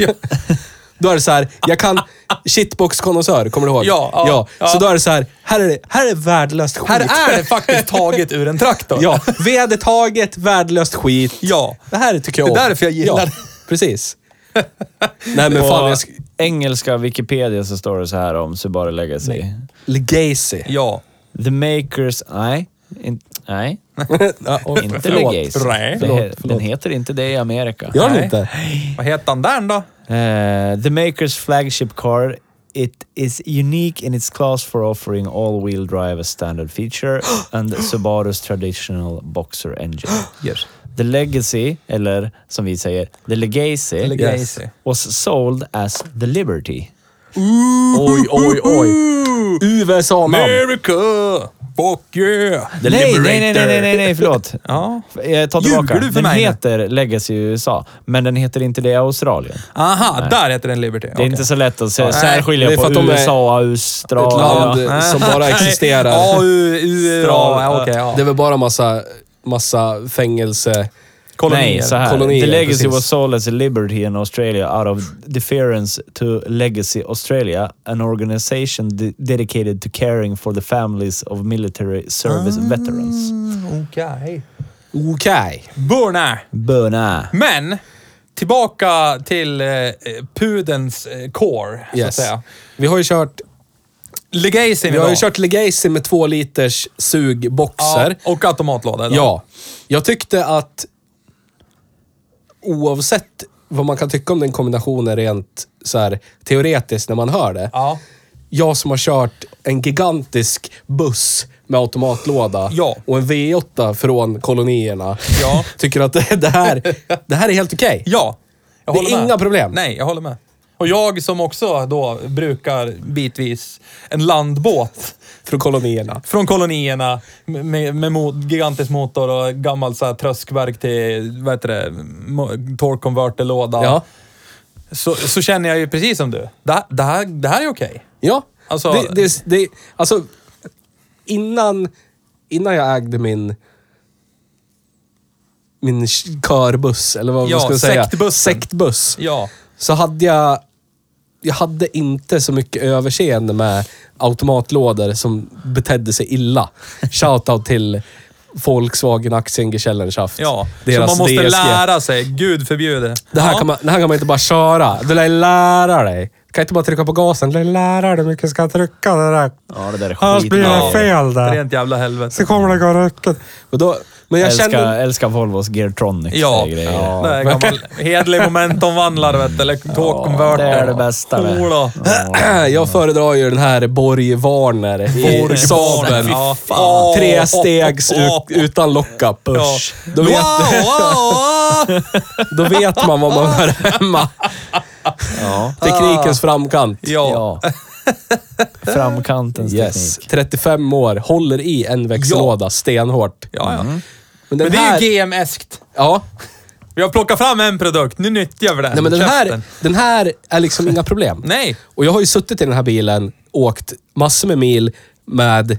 S3: Då är det så här, jag kan... Shitbox-kondensör, kommer du ihåg?
S2: Ja, ja, ja.
S3: Så då är det så här, här är det, här är värdelöst skit.
S2: Här är det faktiskt taget ur en traktor.
S3: Ja, vedertaget, värdelöst skit.
S2: Ja.
S3: Det här tycker
S2: Det
S3: jag
S2: är
S3: om.
S2: därför jag gillar det.
S3: precis. Nej men
S4: På
S3: fan, jag sk-
S4: engelska Wikipedia så står det så här om Subaru Legacy.
S3: Legacy.
S2: Ja.
S4: The makers... Nej. In, nej.
S3: Ja, och-
S4: Inte
S3: förlåt.
S4: Legacy.
S2: Nej.
S4: Det he-
S3: Förlåt, förlåt.
S4: Den heter inte det i Amerika.
S3: Gör den
S2: Nej.
S3: inte?
S2: Vad heter han där då?
S4: Eh, the makers flagship car. It is unique in its class for offering all-wheel drive as standard feature and Subarus traditional boxer engine.
S2: Yes.
S4: The Legacy, eller som vi säger, The Legacy,
S2: Legacy.
S4: was sold as the Liberty.
S3: Oj, oj, oj. USA-namn.
S2: America! Fuck yeah!
S4: The nej, nej, nej, nej, nej, nej, nej, förlåt.
S2: Ja.
S4: Jag tar
S2: Ljuger
S4: tillbaka.
S2: du för
S4: Den
S2: mig nu?
S4: heter Legacy i USA, men den heter inte det i Australien.
S2: Aha, där heter den Liberty.
S4: Det är inte så lätt att se-
S3: det
S4: särskilja
S3: är för
S4: på
S3: att de är
S4: USA och
S3: Ett land eh,
S4: Australien.
S3: som bara existerar.
S2: A, U, U, A. ja, Okej,
S3: Det är
S2: ja.
S3: väl bara massa, massa fängelse...
S4: Nej, så här.
S3: Kolonier,
S4: the legacy
S3: precis.
S4: was sold as a liberty in Australia out of deference to Legacy Australia, an organization de- dedicated to caring for the families of military service
S2: Ah.
S4: veterans.
S2: Mm, Okej.
S3: Okej.
S2: Burna!
S4: Böna.
S2: Men, tillbaka till eh, pudens eh, core, så att
S3: Yes.
S2: säga.
S3: Vi har ju kört,
S2: Legacy
S3: vi har ju kört Legacy med två liters sugboxer.
S2: ja, Och automatlåda. idag.
S3: Ja. Jag tyckte att oavsett vad man kan tycka om den kombinationen rent så här, teoretiskt när man hör det.
S2: Ja.
S3: Jag som har kört en gigantisk buss med automatlåda
S2: Ja.
S3: och en V8 från kolonierna.
S2: Ja.
S3: Tycker att det, det, här, det här är helt okej.
S2: Ja. Jag
S3: Det är
S2: håller med.
S3: inga problem.
S2: Nej, jag håller med. Och jag som också då brukar bitvis en landbåt
S3: Från kolonierna.
S2: från kolonierna med, med mot, gigantisk motor och gammalt så här tröskverk till, vad heter det, mo- torque converter-låda.
S3: Ja.
S2: Så, så känner jag ju precis som du. Det, här- det, här, det här är okej.
S3: Ja.
S2: Alltså-
S3: det, det, det, alltså innan, innan jag ägde min min sh- körbuss, eller vad
S2: Ja,
S3: man ska säga.
S2: sektbussen.
S3: Sektbuss.
S2: Ja.
S3: Så hade jag... Jag hade inte så mycket överseende med automatlådor som betedde sig illa. Shoutout till Volkswagen Aktiengesellenschaft.
S2: Ja, så
S3: Deras
S2: man måste
S3: DSG.
S2: lära sig. Gud förbjude.
S3: Det här,
S2: ja.
S3: kan man, det här kan man inte bara köra. Du lär lära dig. Du kan inte bara trycka på gasen. Du lär lära dig hur mycket du ska trycka. Det där.
S4: Ja, det där är
S3: Annars blir det
S4: skitbra.
S3: fel där.
S2: Rent jävla helvete.
S3: Så kommer det gå rycket. Och då, men jag
S4: älskar,
S3: kände...
S4: älskar Volvos Geartronic.
S2: Ja,
S4: grejer.
S2: ja. det är gammal hedlig momentumvandlare vet du, eller tågkonverter.
S4: det är det bästa det.
S2: Ola.
S3: Jag föredrar ju den här Borg Warner i
S2: Borg Warner,
S3: Saaben.
S2: ja. Fan.
S3: Tre stegs ut, utan lockup.
S2: Ja.
S3: Då,
S2: Wow,
S3: vet,
S2: wow, wow.
S3: då vet man vad man hör hemma.
S4: Ja.
S3: Teknikens framkant.
S2: Ja.
S4: ja. Framkantens
S3: Yes.
S4: teknik.
S3: 35 år, håller i en växellåda stenhårt.
S2: Ja, ja.
S3: Mm. Men,
S2: Men
S3: den
S2: det
S3: här,
S2: är ju GM-eskt.
S3: Ja.
S2: Vi har plockat fram en produkt, nu nyttjar vi den.
S3: Nej, men den, här,
S2: Alltså, Käften.
S3: den här är liksom inga problem.
S2: Nej.
S3: Och jag har ju suttit i den här bilen, åkt massor med mil med,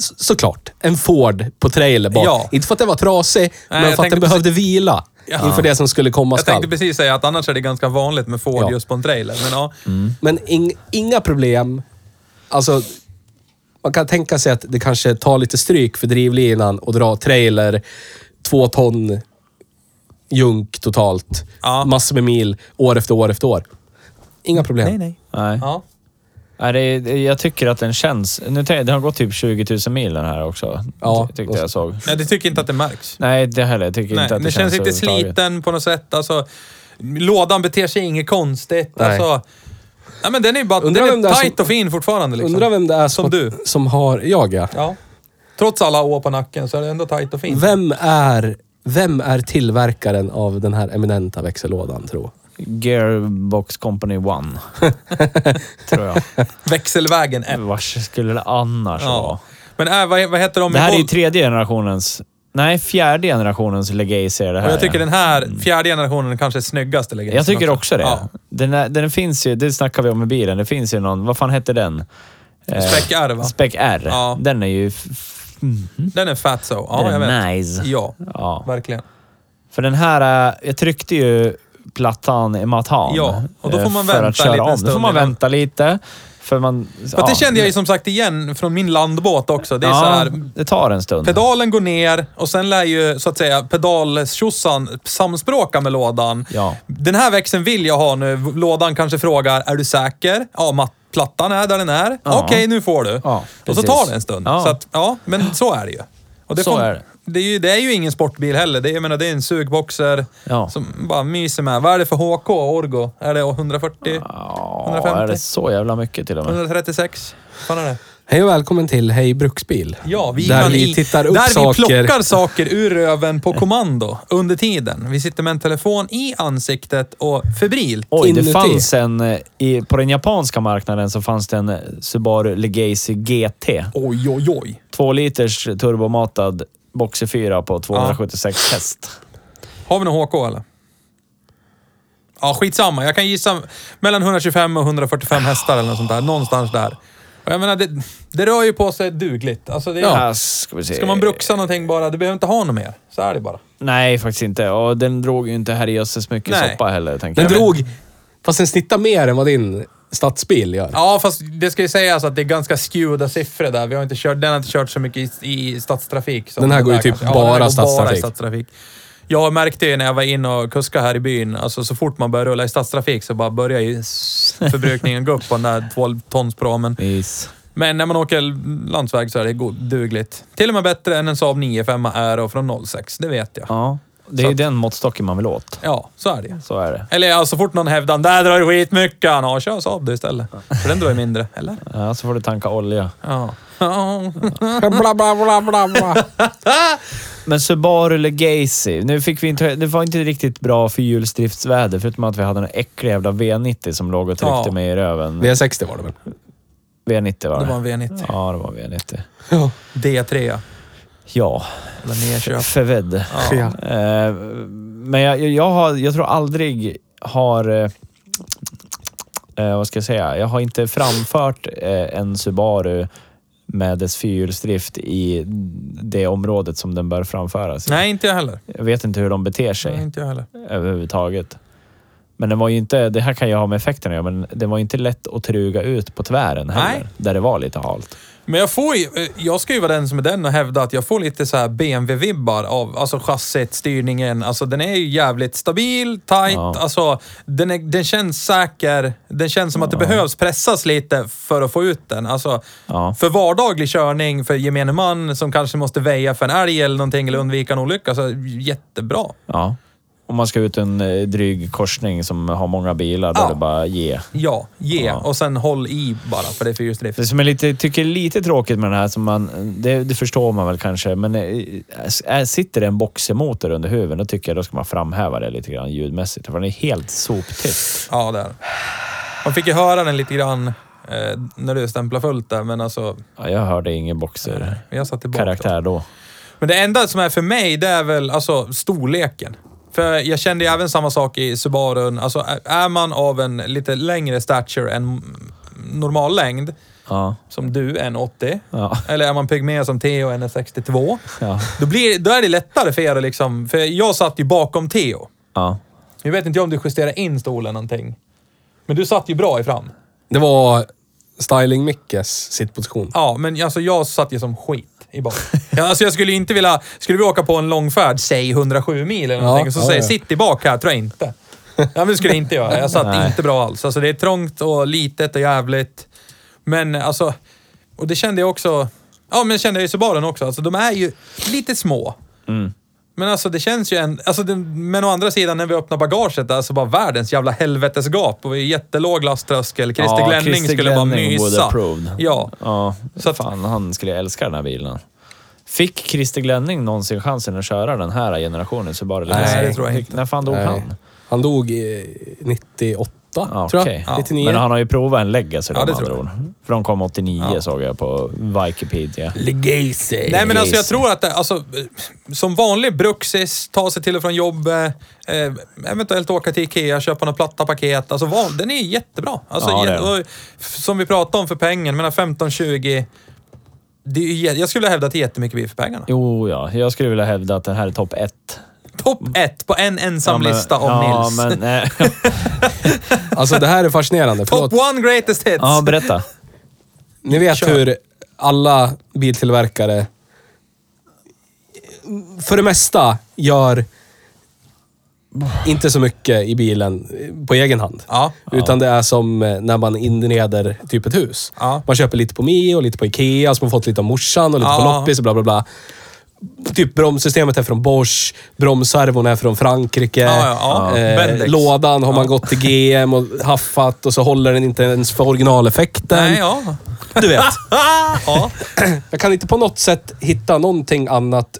S3: så, såklart, en Ford på trailer bak.
S2: Ja.
S3: Inte för att den var trasig, men för
S2: tänkte
S3: att den behövde vila
S2: Ja.
S3: inför det som skulle komma
S2: Jag
S3: skall.
S2: tänkte precis säga att annars är det ganska vanligt med Ford
S3: Ja.
S2: just på en trailer. Men ja.
S4: Mm.
S3: Men ing, inga problem. Alltså, man kan tänka sig att det kanske tar lite stryk för drivlinan och dra trailer, två ton junk totalt,
S2: Ja.
S3: massor med mil, år efter år efter år. Inga problem.
S4: Nej, nej. nej.
S2: ja.
S4: Nej, det, är- det- jag tycker att den känns... Nu, tänker jag- den har gått typ 20 000 mil den här också.
S3: Ja.
S4: ty- Tyckte jag såg.
S2: Nej, det tycker inte att det märks.
S4: Nej, det heller. Jag tycker
S2: Nej,
S4: inte att det,
S2: det känns inte
S4: överhuvudtaget.
S2: sliten på något sätt. Alltså, lådan beter sig inget konstigt.
S3: Nej.
S2: Alltså, nej, men den är ju bara
S3: Undrar vem
S2: den
S3: det
S2: är
S3: är
S2: tight
S3: som-
S2: och fin fortfarande. Liksom.
S3: Undrar vem det är som,
S2: Som du.
S3: som har... Jag ja.
S2: Ja. Trots alla år på nacken så är det ändå tight och fint.
S3: Vem är, vem är tillverkaren av den här eminenta växellådan tro?
S4: Gearbox Company One. tror jag.
S2: Växelvägen 1.
S4: Vars skulle det annars vara?
S2: Ja. Men äh, vad, vad heter de
S4: Det
S2: i
S4: här är ju
S2: Volt-
S4: tredje generationens... Nej, fjärde generationens Legacy är det här.
S2: Och jag tycker
S4: ja.
S2: den här fjärde generationen kanske är snyggaste legacyn
S4: Mm. jag tycker också det.
S2: Ja.
S4: Den, är, den finns ju, det snackar vi om i bilen, det finns ju någon, vad fan hette den? Eh,
S2: Spec R, va?
S4: Spec R.
S2: Ja.
S4: Den är ju... f- f- mm.
S2: Den är fat så. Ja,
S4: den
S2: jag
S4: är
S2: vet.
S4: nice.
S2: Ja,
S4: Ja.
S2: verkligen.
S4: För den här, eh, jag tryckte ju plattan i matan.
S2: Ja, och då får
S4: eh,
S2: man
S4: för
S2: vänta
S4: att
S2: en
S4: köra
S2: liten
S4: om. Då får
S2: stund
S4: man
S2: innan.
S4: vänta lite. För man...
S2: För
S4: ja.
S2: att det kände jag ju som sagt igen från min landbåt också. Det är
S4: ja,
S2: så här,
S4: det tar en stund.
S2: Pedalen går ner och sen lär ju så att säga pedaltjosan samspråka med lådan.
S4: Ja.
S2: Den här växeln vill jag ha nu. Lådan kanske frågar, är du säker? Ja, matt, plattan är där den är.
S4: Ja.
S2: Okej, nu får du.
S4: Ja,
S2: och så
S4: precis.
S2: tar det en stund.
S4: Ja.
S2: Så att, ja, men så är det ju. Och
S4: Så är det.
S2: Det är, ju, det är ju ingen sportbil heller. Det är, jag menar, det är en sugboxer
S4: Ja.
S2: som bara myser med. Vad är det för HK, Orgo? Är det 140?
S4: Ja,
S2: 150?
S4: är det så jävla mycket till och med?
S2: 136? Vad fan är det?
S3: Hej och välkommen till Hej Bruksbil.
S2: Ja, vi,
S3: där
S2: man-
S3: vi tittar upp
S2: där
S3: saker.
S2: vi plockar saker ur röven på kommando under tiden. Vi sitter med en telefon i ansiktet och febrilt.
S4: Oj,
S3: Inuti.
S4: det fanns en... eh, I, på den japanska marknaden så fanns det en eh, Subaru Legacy GT.
S2: Oj, oj, oj.
S4: Två liters turbomatad boxer 4 på 276 häst.
S2: Har vi någon HK eller? Ja, skitsamma. Jag kan gissa mellan 125 och 145 hästar eller något sånt där. Någonstans där. Och jag menar, det, det rör ju på sig dugligt. Alltså, det,
S4: Här ska, vi se.
S2: Ska man bruxa någonting bara, du behöver inte ha något mer. Så är det bara.
S4: Nej, faktiskt inte. Och den drog ju inte herrejösses mycket
S2: Nej.
S4: soppa heller. Tänker
S3: Den
S4: jag.
S3: drog... Fast den snittar mer än vad din stadsbil gör.
S2: Ja, fast det ska ju sägas att det är ganska skewda siffror där. Vi har inte kört, den har inte kört så mycket i, i stadstrafik. som
S3: Den här går ju
S2: där
S3: typ
S2: kanske. Ja, den
S3: bara
S2: här går
S3: stadstrafik.
S2: i stadstrafik. Jag märkte ju när jag var inne och kuskade här i byn, alltså så fort man börjar rulla i stadstrafik så bara börjar ju s- förbrukningen gå upp på den där 12-tonspramen.
S4: Yes.
S2: Men när man åker landsväg så är det god, dugligt. Till och med bättre än en Saab 95 är och från 06, det vet jag.
S4: Ja, det är ju den måttstocken man vill åt.
S2: Ja, så är det ju.
S4: Så är det.
S2: Eller ja, så fort någon hävdar där drar du skitmycket. Ja, kör Saab du istället. För den drar ju mindre, eller?
S4: Ja, så får du tanka olja.
S2: Ja. ja.
S3: Bla, bla, bla, bla, bla.
S4: Men Subaru Legacy. Nu fick vi inte, det var inte riktigt bra fyrhjulsdriftsväder förutom att vi hade en äcklig jävla V90 som låg och tryckte
S2: Ja.
S4: mig i röven.
S3: V60 var det väl?
S4: V90 var det.
S2: Det var en V90.
S4: Ja, det var en V90.
S3: Ja.
S2: D3.
S4: Ja,
S2: Eller nerköp.
S4: Feved.
S3: Ja.
S4: Eh, men jag, jag, har, jag tror aldrig har... eh, Eh, vad ska jag säga? Jag har inte framfört eh, en Subaru med dess fyrhjulsdrift i det området som den bör framföras i.
S2: Nej, inte jag heller.
S4: Jag vet inte hur de beter
S2: Nej,
S4: sig
S2: inte jag heller.
S4: överhuvudtaget. Men den var ju inte, det här kan ju ha med effekterna att göra, men den var ju inte lätt att truga ut på tvären heller.
S2: Nej.
S4: Där det var lite halt.
S2: Men jag får ju- eh, jag ska ju vara den som är den och hävda att jag får lite så här BMW-vibbar av alltså chassit, styrningen. Alltså den är ju jävligt stabil, tight,
S4: Ja.
S2: alltså den, är, den känns säker. Den känns som att det behövs pressas lite för att få ut den. Alltså
S4: Ja.
S2: för vardaglig körning, för gemene man som kanske måste väja för en älg eller någonting eller undvika en olycka. Så jättebra.
S4: Ja. Om man ska ut en eh, dryg korsning som har många bilar, då
S2: Ja.
S4: är det bara ge.
S2: Ja, ge.
S4: Ja.
S2: Och sen håll i bara, för det är fyrhjulsdrift.
S4: Det som jag lite, tycker är lite tråkigt med den här, som man, det, det förstår man väl kanske, men eh, eh, sitter det en boxermotor under huven, då tycker jag då ska man framhäva det lite grann ljudmässigt. För den är helt soptyst.
S2: Ja, där. Man fick ju höra den lite grann eh, när du stämplade fullt där, men alltså...
S4: Ja, jag hörde ingen boxerkaraktär
S2: Jag satt tillbaka.
S4: då.
S2: Men det enda som är för mig, det är väl alltså storleken. För jag kände ju även samma sak i Subarun. Alltså, är- är man av en lite längre stature än mm, normal längd,
S4: Ja.
S2: som du, 1,80,
S4: Ja.
S2: eller är man pygmé som Theo, 1,62,
S4: Ja.
S2: då, blir, då är det lättare för er att liksom... För jag satt ju bakom Theo.
S4: Ja.
S2: Nu vet inte jag om du justerade in stolen någonting. Men du satt ju bra i fram.
S3: Det var Styling Mickes sittposition.
S2: Ja, men alltså jag satt ju som skit i bak. Ja, alltså jag skulle inte vilja... Skulle vi åka på en långfärd, säg 107 mil eller någonting,
S3: Ja,
S2: och så
S3: ja,
S2: säger
S3: ja.
S2: sitt i bak här, tror jag inte. Ja, men det skulle jag inte göra. Jag satt
S4: Nej.
S2: inte bra alls. Alltså det är trångt och litet och jävligt. Men alltså... Och det kände jag också... Ja, men kände jag i Subaren också. Alltså de är ju lite små.
S4: Mm.
S2: Men alltså det känns ju en, alltså det, Men å andra sidan, när vi öppnar bagaget, det är alltså bara världens jävla helvetesgap. Och vi är jättelåg lasttröskel. Christer
S4: Ja,
S2: Glenning
S4: Christer
S2: skulle bara
S4: Glenning would
S2: mysa.
S4: approved.
S2: Ja.
S4: Ja,
S2: Så att-
S4: fan han skulle älska den här bilen. Fick Christer Glenning någonsin chansen att köra den här generationen så bara
S2: Nej, det tror jag inte.
S4: När fan dog
S3: Nej.
S4: han?
S3: Han dog i 98,
S4: Ja,
S3: tror
S4: okej.
S3: jag. 99.
S4: Men han har ju provat en Legacy
S2: Ja,
S4: ja,
S2: det
S4: de andra
S2: tror jag.
S4: ord. För de kom 89 såg jag på Wikipedia.
S3: Legacy.
S2: Nej, men alltså jag
S4: Legacy.
S2: tror att det, alltså, eh, som vanlig bruxis, ta sig till och från jobbet, eh, eventuellt åka till Ikea, köpa några platta paket. Alltså, van, den är jättebra. Alltså,
S4: Ja, det
S2: jä-
S4: är den.
S2: och f- som vi pratade om för pengen, men 15-20. Det är, ju jä- jag skulle hävda att det är jättemycket bil för pengarna.
S4: Jo, ja. Jag skulle vilja hävda att den här är topp ett.
S2: Topp ett på en ensam
S4: men-
S2: lista om
S4: ja,
S2: Nils.
S4: Men, eh, nej.
S3: Alltså det här är fascinerande.
S2: Top
S3: Förlåt.
S2: one greatest hits.
S4: ja, berätta.
S3: Ni vet
S2: Kör.
S3: hur alla biltillverkare för det mesta gör inte så mycket i bilen på egen hand.
S2: Ja.
S3: Utan det är som eh, när man inreder typ ett hus.
S2: Ja.
S3: Man köper lite på Mio, lite på Ikea, som man fått lite av morsan och lite på
S2: Ja.
S3: loppis och bla bla bla. Typ bromssystemet är från Bosch, bromsservon är från Frankrike.
S2: Ja, ja, ja.
S3: Eh,
S2: Bendix.
S3: lådan har man gått till GM och haffat och så håller den inte ens för originaleffekten.
S2: Nej, ja.
S3: Du vet.
S2: ja.
S3: Jag kan inte på något sätt hitta någonting annat.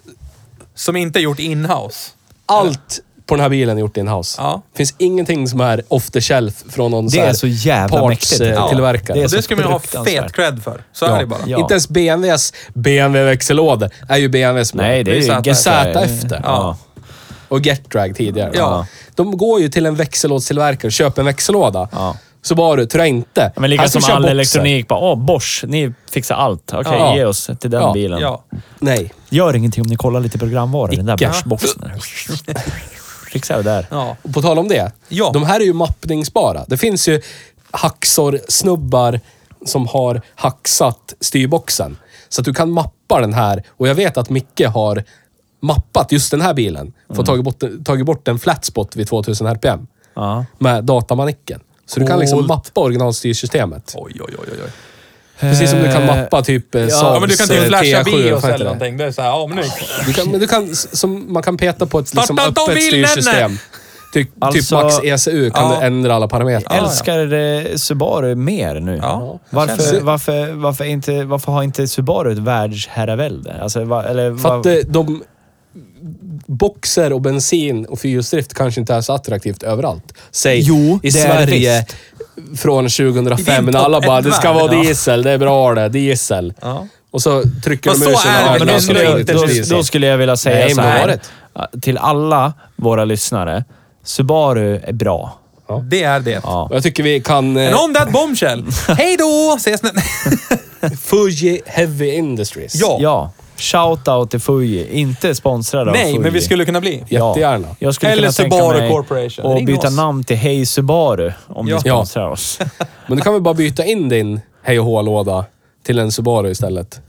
S2: Som inte gjort in-house.
S3: Allt på den här bilen är gjort in-house.
S2: Ja.
S3: Det finns ingenting som är off the shelf från någon
S4: Det är så jävla mäktigt. Ja.
S3: eh, tillverkare.
S4: Det är
S2: Och
S4: så
S2: det ska man ju ha
S4: fruktansvärt.
S2: fet cred för. Så är det bara.
S4: Ja.
S3: Inte ens BMWs BMW-växellådor är ju BMWs
S4: Nej, det
S2: Det är
S4: är
S2: Z
S4: ju
S2: efter.
S3: Z efter.
S4: Ja.
S3: och Getrag tidigare.
S2: Ja.
S3: De går ju till en växellådstillverkare och köper en växellåda.
S4: Ja.
S3: Så bara du, tror jag inte. Alltså,
S4: Men lika
S3: Han
S2: Alltså,
S3: ska
S4: som
S3: köra
S4: all
S3: boxer.
S4: elektronik bara, åh Bosch, ni fixar allt. Okej,
S3: Ja.
S4: ge oss till den
S3: Ja.
S4: bilen.
S2: Ja.
S3: Nej.
S4: Gör ingenting om ni kollar lite programvara i den där
S3: Icke.
S4: Bosch-boxen. Fixa det där.
S2: Ja.
S3: Och på tal om det.
S2: Ja.
S3: De här är ju mappningsbara. Det finns ju hacksor-snubbar som har hacksat styrboxen. Så att du kan mappa den här. Och jag vet att Micke har mappat just den här bilen. För
S2: Mm.
S3: att tagit bort, tagit bort en flatspot vid 2000 RPM.
S4: Ja.
S3: Med datamanicken. Så du kan liksom
S4: Coolt.
S3: mappa originalstyrsystemet.
S2: Oj, oj, oj, oj. oj.
S3: Precis som du kan mappa typ eh, Saabs
S2: Ja, men du kan
S3: eh,
S2: typ flasha
S3: T7,
S2: bios
S3: vad heter
S2: eller
S3: det?
S2: någonting. Det är såhär, ja men nu...
S3: Du kan, men du kan, s- som, man kan peta på ett liksom,
S2: Starta inte om
S3: öppet
S2: bilen!
S3: styrsystem. Ty,
S4: Alltså-
S3: typ Max ECU kan
S2: Ja.
S3: du ändra alla parametrar.
S4: Älskar eh, Subaru mer nu.
S2: Ja.
S4: Varför,
S3: Känns-
S4: varför, varför, inte, varför har inte Subaru ett världsherravälde? Alltså, va, eller,
S3: För
S4: va,
S3: att eh, de... Boxer och bensin och fyrhjulsdrift kanske inte är så attraktivt överallt. Säg
S4: Jo,
S3: i
S4: det är det
S3: Sverige från 2005
S2: I din
S3: när alla
S2: topp
S3: bara
S2: ett
S3: “det ska
S2: värld,
S3: vara diesel, det är bra det, diesel”.
S2: Ja.
S3: Och så trycker
S2: Fast
S3: de
S2: så
S3: ur sig
S2: är det
S3: någon
S2: väl
S3: annan
S4: men då,
S2: ändå
S3: som
S4: skulle jag,
S3: inte
S4: då,
S3: diesel.
S4: då skulle jag vilja säga
S3: Nej, men
S4: så här,
S3: vad var
S4: till alla våra lyssnare. Subaru är bra.
S2: Det är det.
S4: Ja.
S3: Och Jag tycker vi kan...
S2: And
S3: Eh,
S2: on that bombshell! Hej då! Ses nä-
S3: Fuji Heavy Industries.
S2: Ja.
S4: Ja, Shoutout till Fuji. Inte sponsrade av
S5: Nej,
S4: Fuji.
S5: men vi skulle kunna bli.
S4: Ja.
S3: Jättegärna.
S4: Jag skulle
S5: Eller
S4: kunna tänka
S5: Subaru
S4: mig
S5: Corporation.
S4: Och
S5: Ring
S4: byta
S5: oss.
S4: namn till Hej Subaru om
S2: Ja.
S4: ni sponsrar oss.
S3: Men då kan vi bara byta in din hej och hå-låda till en Subaru istället.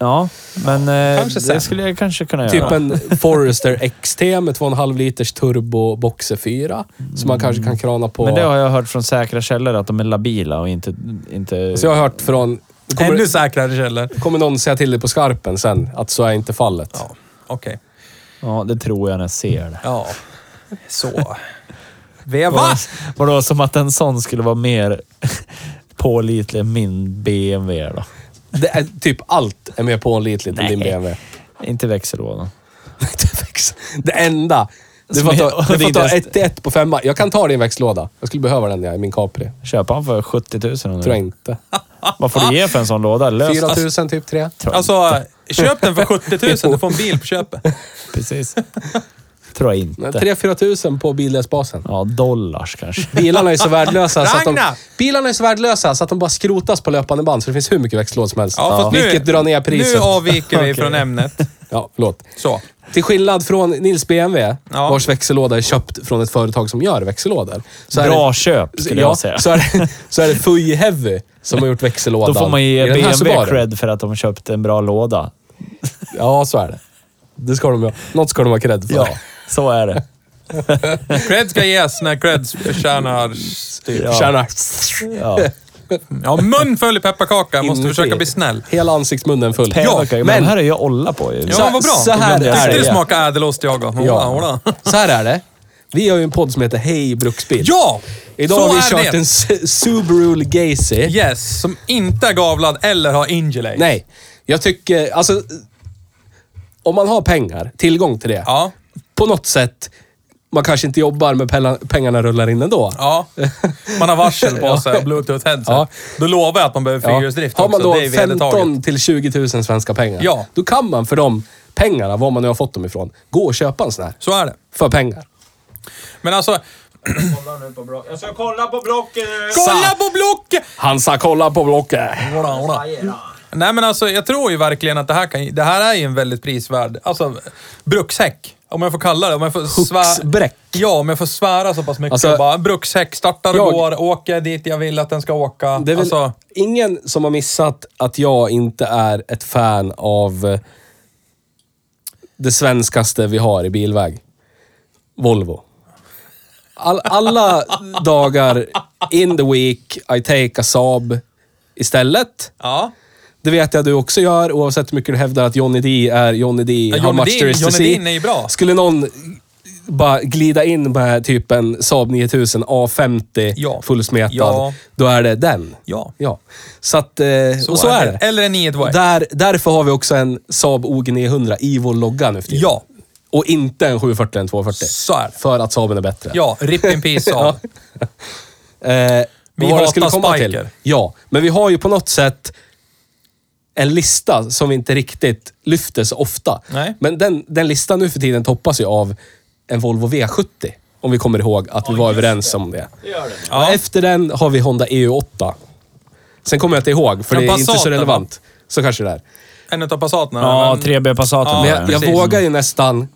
S4: Ja, men eh,
S2: Kanske sen.
S4: det skulle jag kanske kunna
S3: Typ
S4: göra.
S3: en Forester XT med 2,5 liters turbo boxer 4. Som man kanske kan krana på.
S4: Men det har jag hört från säkra källor att de är labila och inte... inte...
S3: Så jag har hört från... Kommer,
S2: Ännu säkrare källor.
S3: kommer någon säga till dig på skarpen sen att så är inte fallet.
S2: Ja, okej.
S4: Ja, det tror jag när jag ser det.
S2: Ja, så. Veva!
S4: Vadå, som att en sån skulle vara mer pålitlig än min BMW då?
S3: Det är, typ allt är mer pålitligt än din
S4: Nej.
S3: BMW.
S4: Inte växellådan.
S3: det enda. Du
S4: Som
S3: får
S4: är-
S3: ta,
S4: och
S3: du får
S4: det är
S3: ta
S4: inte ens-
S3: ett till ett på femma. Jag kan ta din växellåda. Jag skulle behöva den jag i min Capri.
S4: Köpa han för 70 000 nu.
S3: Tror jag inte.
S4: Vad får du ge för en sån låda? Lös
S3: 4 000 typ tre.
S2: Alltså, köp den för 70 000. Du får en bil på köpet.
S4: Precis. Tror jag inte.
S3: 3-4 000 på bildelsbasen.
S4: Ja, dollars kanske.
S3: Bilarna är så värdelösa så att de,
S2: Ragnar!
S3: bilarna är så värdelösa så att de bara skrotas på löpande band så det finns hur mycket växellåd som helst.
S2: Ja, fast nu,
S3: Vilket drar ner priset.
S2: Nu avviker vi
S4: Okej.
S2: från ämnet.
S3: Ja, förlåt.
S2: Så.
S3: Till skillnad från Nils BMW,
S2: Ja.
S3: vars växellåda är köpt från ett företag som gör växellådor. Så är
S4: Bra
S3: det-
S4: köp skulle
S3: ja,
S4: jag säga.
S3: Så är, det, så är det Fuji Heavy som har gjort växellådan.
S4: Då får man ge
S3: i den här
S4: BMW
S3: Subaru.
S4: cred för att de köpte en bra låda.
S3: Ja, så är det. det ska de, ha- något ska de ha cred för.
S4: Ja, så är det.
S2: Cred ska ges när creds tjänar...
S4: typ. Ja.
S3: Tjäna.
S4: Ja.
S2: Ja, mun full i pepparkaka. Måste
S3: Inuti.
S2: försöka bli snäll.
S3: Hela ansiktsmunnen full.
S4: Ja,
S3: men-
S4: men den här är jag olla på ju.
S2: Ja, vad bra.
S3: Så här
S2: Tyckte
S3: är
S2: det.
S3: det.
S2: smakade ädelost jag gav.
S3: Ja.
S2: Ja.
S3: Så här är det. Vi har ju en podd som heter Hej Bruksbil.
S2: ja!
S3: Idag
S2: så
S3: har vi
S2: är
S3: kört
S2: det.
S3: en Su- Subaru Legacy.
S2: Yes, som inte är gavlad eller har Ingelay.
S3: Nej, jag tycker... Alltså, om man har pengar, tillgång till det,
S2: Ja.
S3: på något sätt, man kanske inte jobbar men pella- pengarna rullar in ändå.
S2: Ja. Man har varsel på sig och bluetooth headset.
S3: Ja.
S2: Då lovar jag att man behöver
S3: Ja.
S2: fyrhjulsdrift
S3: Har man
S2: också.
S3: då
S2: det är vedertaget.
S3: 15 till 20 000 svenska pengar,
S2: Ja.
S3: då kan man för de pengarna, var man nu har fått dem ifrån, gå och köpa en sån här.
S2: Så är det.
S3: För pengar.
S2: Men alltså...
S1: Jag ska kolla på eh. blocken nu.
S2: Kolla på blocket!
S3: Hansa, kolla på blocket!
S2: Ora, ora. Nej men alltså jag tror ju verkligen att det här kan... Det här är ju en väldigt prisvärd... Alltså, brukshäck. Om jag får kalla det. Om jag får
S3: Huxbräck.
S2: Ja, om jag får svära så pass mycket.
S3: Alltså,
S2: bara, en brukshäck startar och
S3: jag-
S2: går, åker dit jag vill att den ska åka.
S3: Det är väl
S2: alltså,
S3: ingen som har missat att jag inte är ett fan av eh, det svenskaste vi har i bilväg. Volvo. All, alla dagar in the week I take a Saab istället.
S2: ja.
S3: Det vet jag du också gör, oavsett hur mycket du hävdar att Johnny D är Johnny D.
S2: Ja,
S3: how
S2: Johnny
S3: much
S2: D-
S3: there is to
S2: Johnny
S3: see.
S2: Dean är ju bra.
S3: E. Skulle någon bara glida in med typ en Saab 9000 A50
S2: Ja.
S3: fullsmetad,
S2: Ja.
S3: då är det den.
S2: Ja.
S3: ja. Så att, eh, så, och så är det.
S2: Eller en 9
S3: Och Där, därför har vi också en Saab OG 900 i vår logga nu för tiden.
S2: Ja.
S3: Och inte en 740 eller en 240.
S2: Så är det.
S3: För att Saaben är bättre.
S2: Ja, rip in peace av.
S3: Eh,
S2: Vi
S3: vad var det
S2: hatar
S3: skulle komma
S2: spiker.
S3: till? Ja, men vi har ju på något sätt en lista som vi inte riktigt lyfter så ofta.
S2: Nej.
S3: Men den, den listan nu för tiden toppas ju av en Volvo V70. Om vi kommer ihåg att vi var överens om det. Och Efter den har vi Honda EU8. Sen kommer jag inte ihåg, för
S2: Ja,
S3: det är inte så
S2: Passaten, va?
S3: relevant. Så kanske det är.
S2: En utav Passaterna.
S4: Ja,
S2: men-
S4: 3B Passaten.
S2: Ja,
S3: Men jag, jag
S2: precis.
S3: vågar ju nästan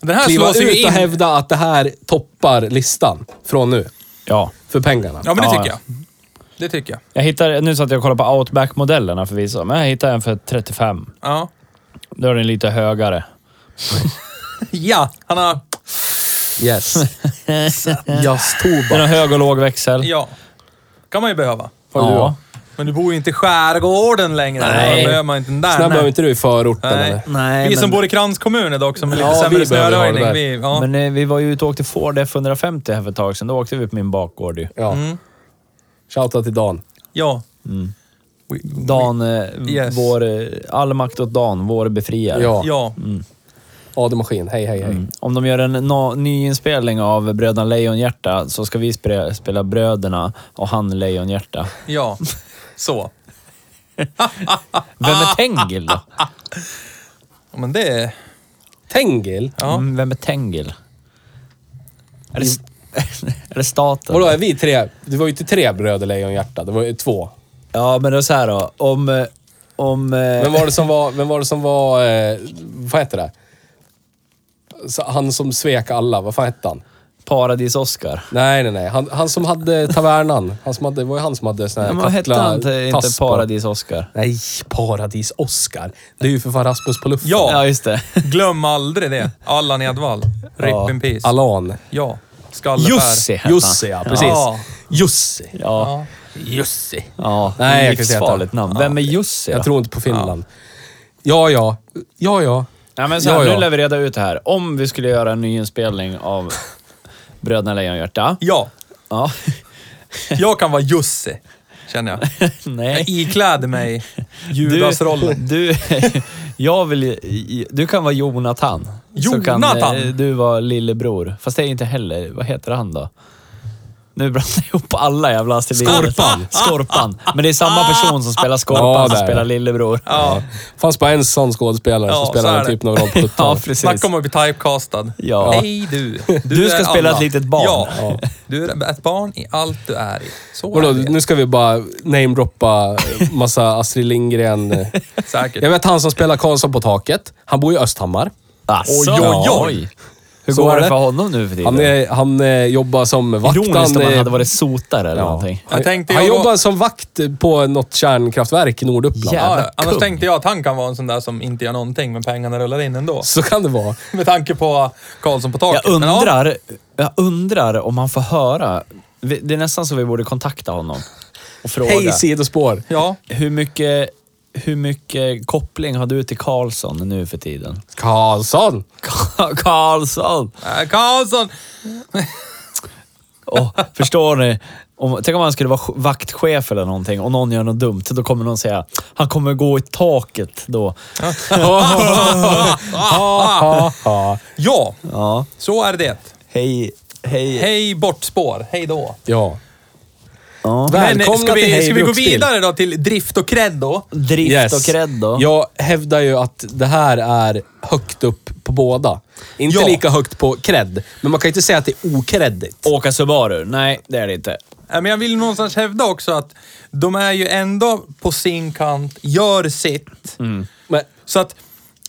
S2: Den här
S3: kliva
S2: slås ju
S3: ut och
S2: in.
S3: hävda att det här toppar listan från nu.
S4: ja.
S3: För pengarna.
S2: Ja, men det
S4: Ja,
S2: tycker
S4: ja.
S2: jag. Det tycker jag.
S4: Jag hittade, nu satt jag och kollade på Outback-modellerna förvisso, men jag hittade en för 35.
S2: Ja.
S4: Då är den lite högare.
S2: Ja, han har...
S3: Yes. Just tobak.
S4: Den har hög och låg växel.
S2: Ja. kan man ju behöva.
S4: Ja.
S2: Men du bor ju inte i skärgården längre.
S4: Nej.
S2: Då behöver man inte den där.
S3: Så där behöver
S2: nej.
S3: inte du i förorten
S2: Nej.
S3: eller?
S4: Nej,
S2: vi som
S4: men-
S2: bor i kranskommun idag också med lite
S3: Ja,
S2: sämre
S3: vi behöver ha det
S2: snöröjning.
S3: där.
S2: Vi, ja.
S4: Men eh, vi var ju ute och åkte Ford F150 här för ett tag sedan. Då åkte vi på min bakgård ju.
S3: Ja.
S2: Mm.
S3: Shoutout till Dan.
S2: ja.
S4: Dan, eh,
S2: Yes.
S4: vår, eh, all makt åt Dan, vår befriare. Mm.
S3: Ja.
S2: Ja.
S3: Ademaskin. Hej, hej, hej.
S2: Mm.
S4: Om de gör en no- ny inspelning av Bröderna Lejonhjärta så ska vi spre- spela Bröderna och han Lejonhjärta.
S2: Ja. Så.
S4: Vem är Tengil då?
S2: Ja, Men det är...
S3: Tengil?
S2: Ja.
S4: Mm, Vem är Tengil? Är det, st- är det staten?
S3: Vadå, är vi tre? Det var ju inte tre bröder Lejonhjärta, det var ju två.
S4: Ja, men det är så här då. Om, eh, om... eh,
S3: Vem var det som var... Vem var, det som var eh, vad heter det? Så han som svek alla, vad fan hette han?
S4: Paradis-Oskar.
S3: Nej, nej, nej. Han, han som hade tavernan. Han som hade, det var ju han som hade sån här
S4: Ja, men vad hette
S3: kattla-
S4: han? till- Inte
S3: tass på.
S4: Paradis-Oskar.
S3: Nej, Paradis-Oskar. Det är ju för fan Rasmus på luften.
S2: Ja.
S4: Ja, just det.
S2: Glöm aldrig det. Allan Edwall. Rip
S3: Ja,
S2: in peace.
S3: Allan.
S2: Ja. Skallefär.
S4: Jussi hette han.
S3: Jussi, ja. Precis.
S2: Ja.
S3: Jussi.
S4: Ja.
S3: Jussi.
S4: ja.
S3: Nej, jag kan inte säga att han-
S4: Livsfarligt namn. Vem är Jussi då?
S3: Jag tror inte på Finland. Ja, ja. Ja, ja.
S4: Nej, men så här,
S3: Ja, ja.
S4: Nu lär vi reda ut det här. Om vi skulle göra en nyinspelning av Bröderna Lejonhjärta.
S2: Ja.
S4: Ja.
S2: Jag kan vara Jussi, känner jag. Jag
S4: Nej.
S2: ikläder mig Judas-rollen.
S4: Du, jag vill, ju- du kan vara Jonathan. Så kan
S2: Jonathan?
S4: eh, du vara lillebror. Fast det är inte heller... Vad heter han då? Nu blandar jag ihop alla jävla Astrid Lindgren.
S2: Skorpan.
S4: Skorpan. Men det är samma person som spelar Skorpan
S3: Ja, det är
S4: som
S3: det.
S4: spelar lillebror.
S2: Ja.
S3: Fanns bara en sån skådespelare
S2: Ja,
S3: som
S2: så
S3: spelade
S2: är
S3: den
S2: det.
S3: typen av roll på
S4: Ja,
S3: 70-talet.
S4: precis.
S2: Snacka om att bli typecastad.
S4: Ja.
S2: Hej du. Du,
S4: Du ska
S2: är
S4: spela
S2: alla.
S4: ett litet barn.
S2: Ja.
S3: Ja.
S2: Du är ett barn i allt du är i. Så
S3: Vadå,
S2: är det.
S3: nu ska vi bara namedroppa massa Astrid Lindgren.
S2: Säkert.
S3: Jag vet han som spelar Karlsson på taket. Han bor i Östhammar.
S4: Alltså,
S2: Oj, oj, oj.
S4: Hur
S3: Så
S4: går
S3: är
S4: det
S3: det.
S4: för honom nu för tiden?
S3: Han, är, han eh, jobbar som vakt.
S4: Ironiskt om
S3: Han,
S4: han
S3: eh,
S4: hade varit sotare eller
S3: ja.
S4: någonting.
S2: Jag tänkte
S3: han
S2: jag var-
S3: jobbar som vakt på något kärnkraftverk i Norduppland.
S4: Jävlar.
S2: Ja, annars
S4: kung.
S2: tänkte jag att han kan vara en sån där som inte gör någonting, men pengarna rullar in ändå.
S3: Så kan det vara.
S2: Med tanke på Karlsson på taket.
S4: Jag
S2: Men ja,
S4: undrar, jag undrar om han får höra. Vi- Det är nästan så vi borde kontakta honom och fråga.
S3: Hej sidospår.
S2: Ja,
S4: Hur mycket, hur mycket koppling har du till Karlsson nu för tiden?
S3: Karlsson!
S4: Ka- Karlsson!
S2: Äh, Karlsson!
S4: Åh, förstår ni? Om, tänk om han skulle vara sj- vaktchef eller någonting och någon gör något dumt. Då kommer någon säga, han kommer gå i taket då.
S3: Ja.
S2: Ja,
S4: Ja,
S2: så är det.
S4: hej. Hej.
S2: Hej bortspår, hej då.
S3: ja.
S4: Ja.
S2: Men,
S3: Välkomna
S2: eh, ska
S3: till
S2: vi,
S3: Hej
S2: ska vi gå
S3: Bruksbil.
S2: vidare då till drift och creddo?
S4: Drift
S3: Yes.
S4: och cred då.
S3: Jag hävdar ju att det här är högt upp på båda. Inte
S2: Ja.
S3: lika högt på cred, men man kan ju inte säga att det är okreddigt.
S4: Åka Subaru? Nej, det är det inte.
S2: Ja, Äh, Men jag vill någonstans hävda också att de är ju ändå på sin kant, gör sitt.
S3: Men,
S2: Så att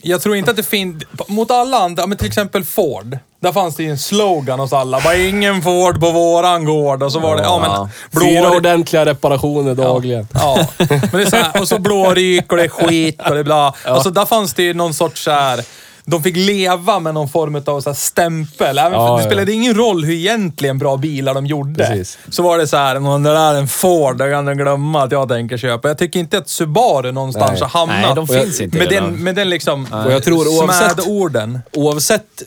S2: jag tror inte att det finns... Mot alla andra, men till exempel Ford. Där fanns det ju en slogan hos alla. Bara ingen Ford på våran gård. Och så var det... Ja, men...
S3: fyra
S2: blå-
S3: ordentliga reparationer dagligen.
S2: Ja, men det är så här, och så blåryk och det är skit och det är bla. Alltså där fanns det ju någon sorts så här. De fick leva med någon form av så här stämpel. Även
S3: Ja,
S2: för det
S3: ja.
S2: spelade ingen roll hur egentligen bra bilar de gjorde.
S3: Precis.
S2: Så var det så här, om det där är en Ford, då kan de glömma att jag tänker köpa. Jag tycker inte att Subaru någonstans
S3: Nej.
S2: har hamnat
S4: Nej, de
S2: Och jag-
S4: finns inte
S2: med,
S4: redan.
S2: den, med den liksom
S3: Och jag tror oavsett-
S2: smädorden.
S3: Oavsett...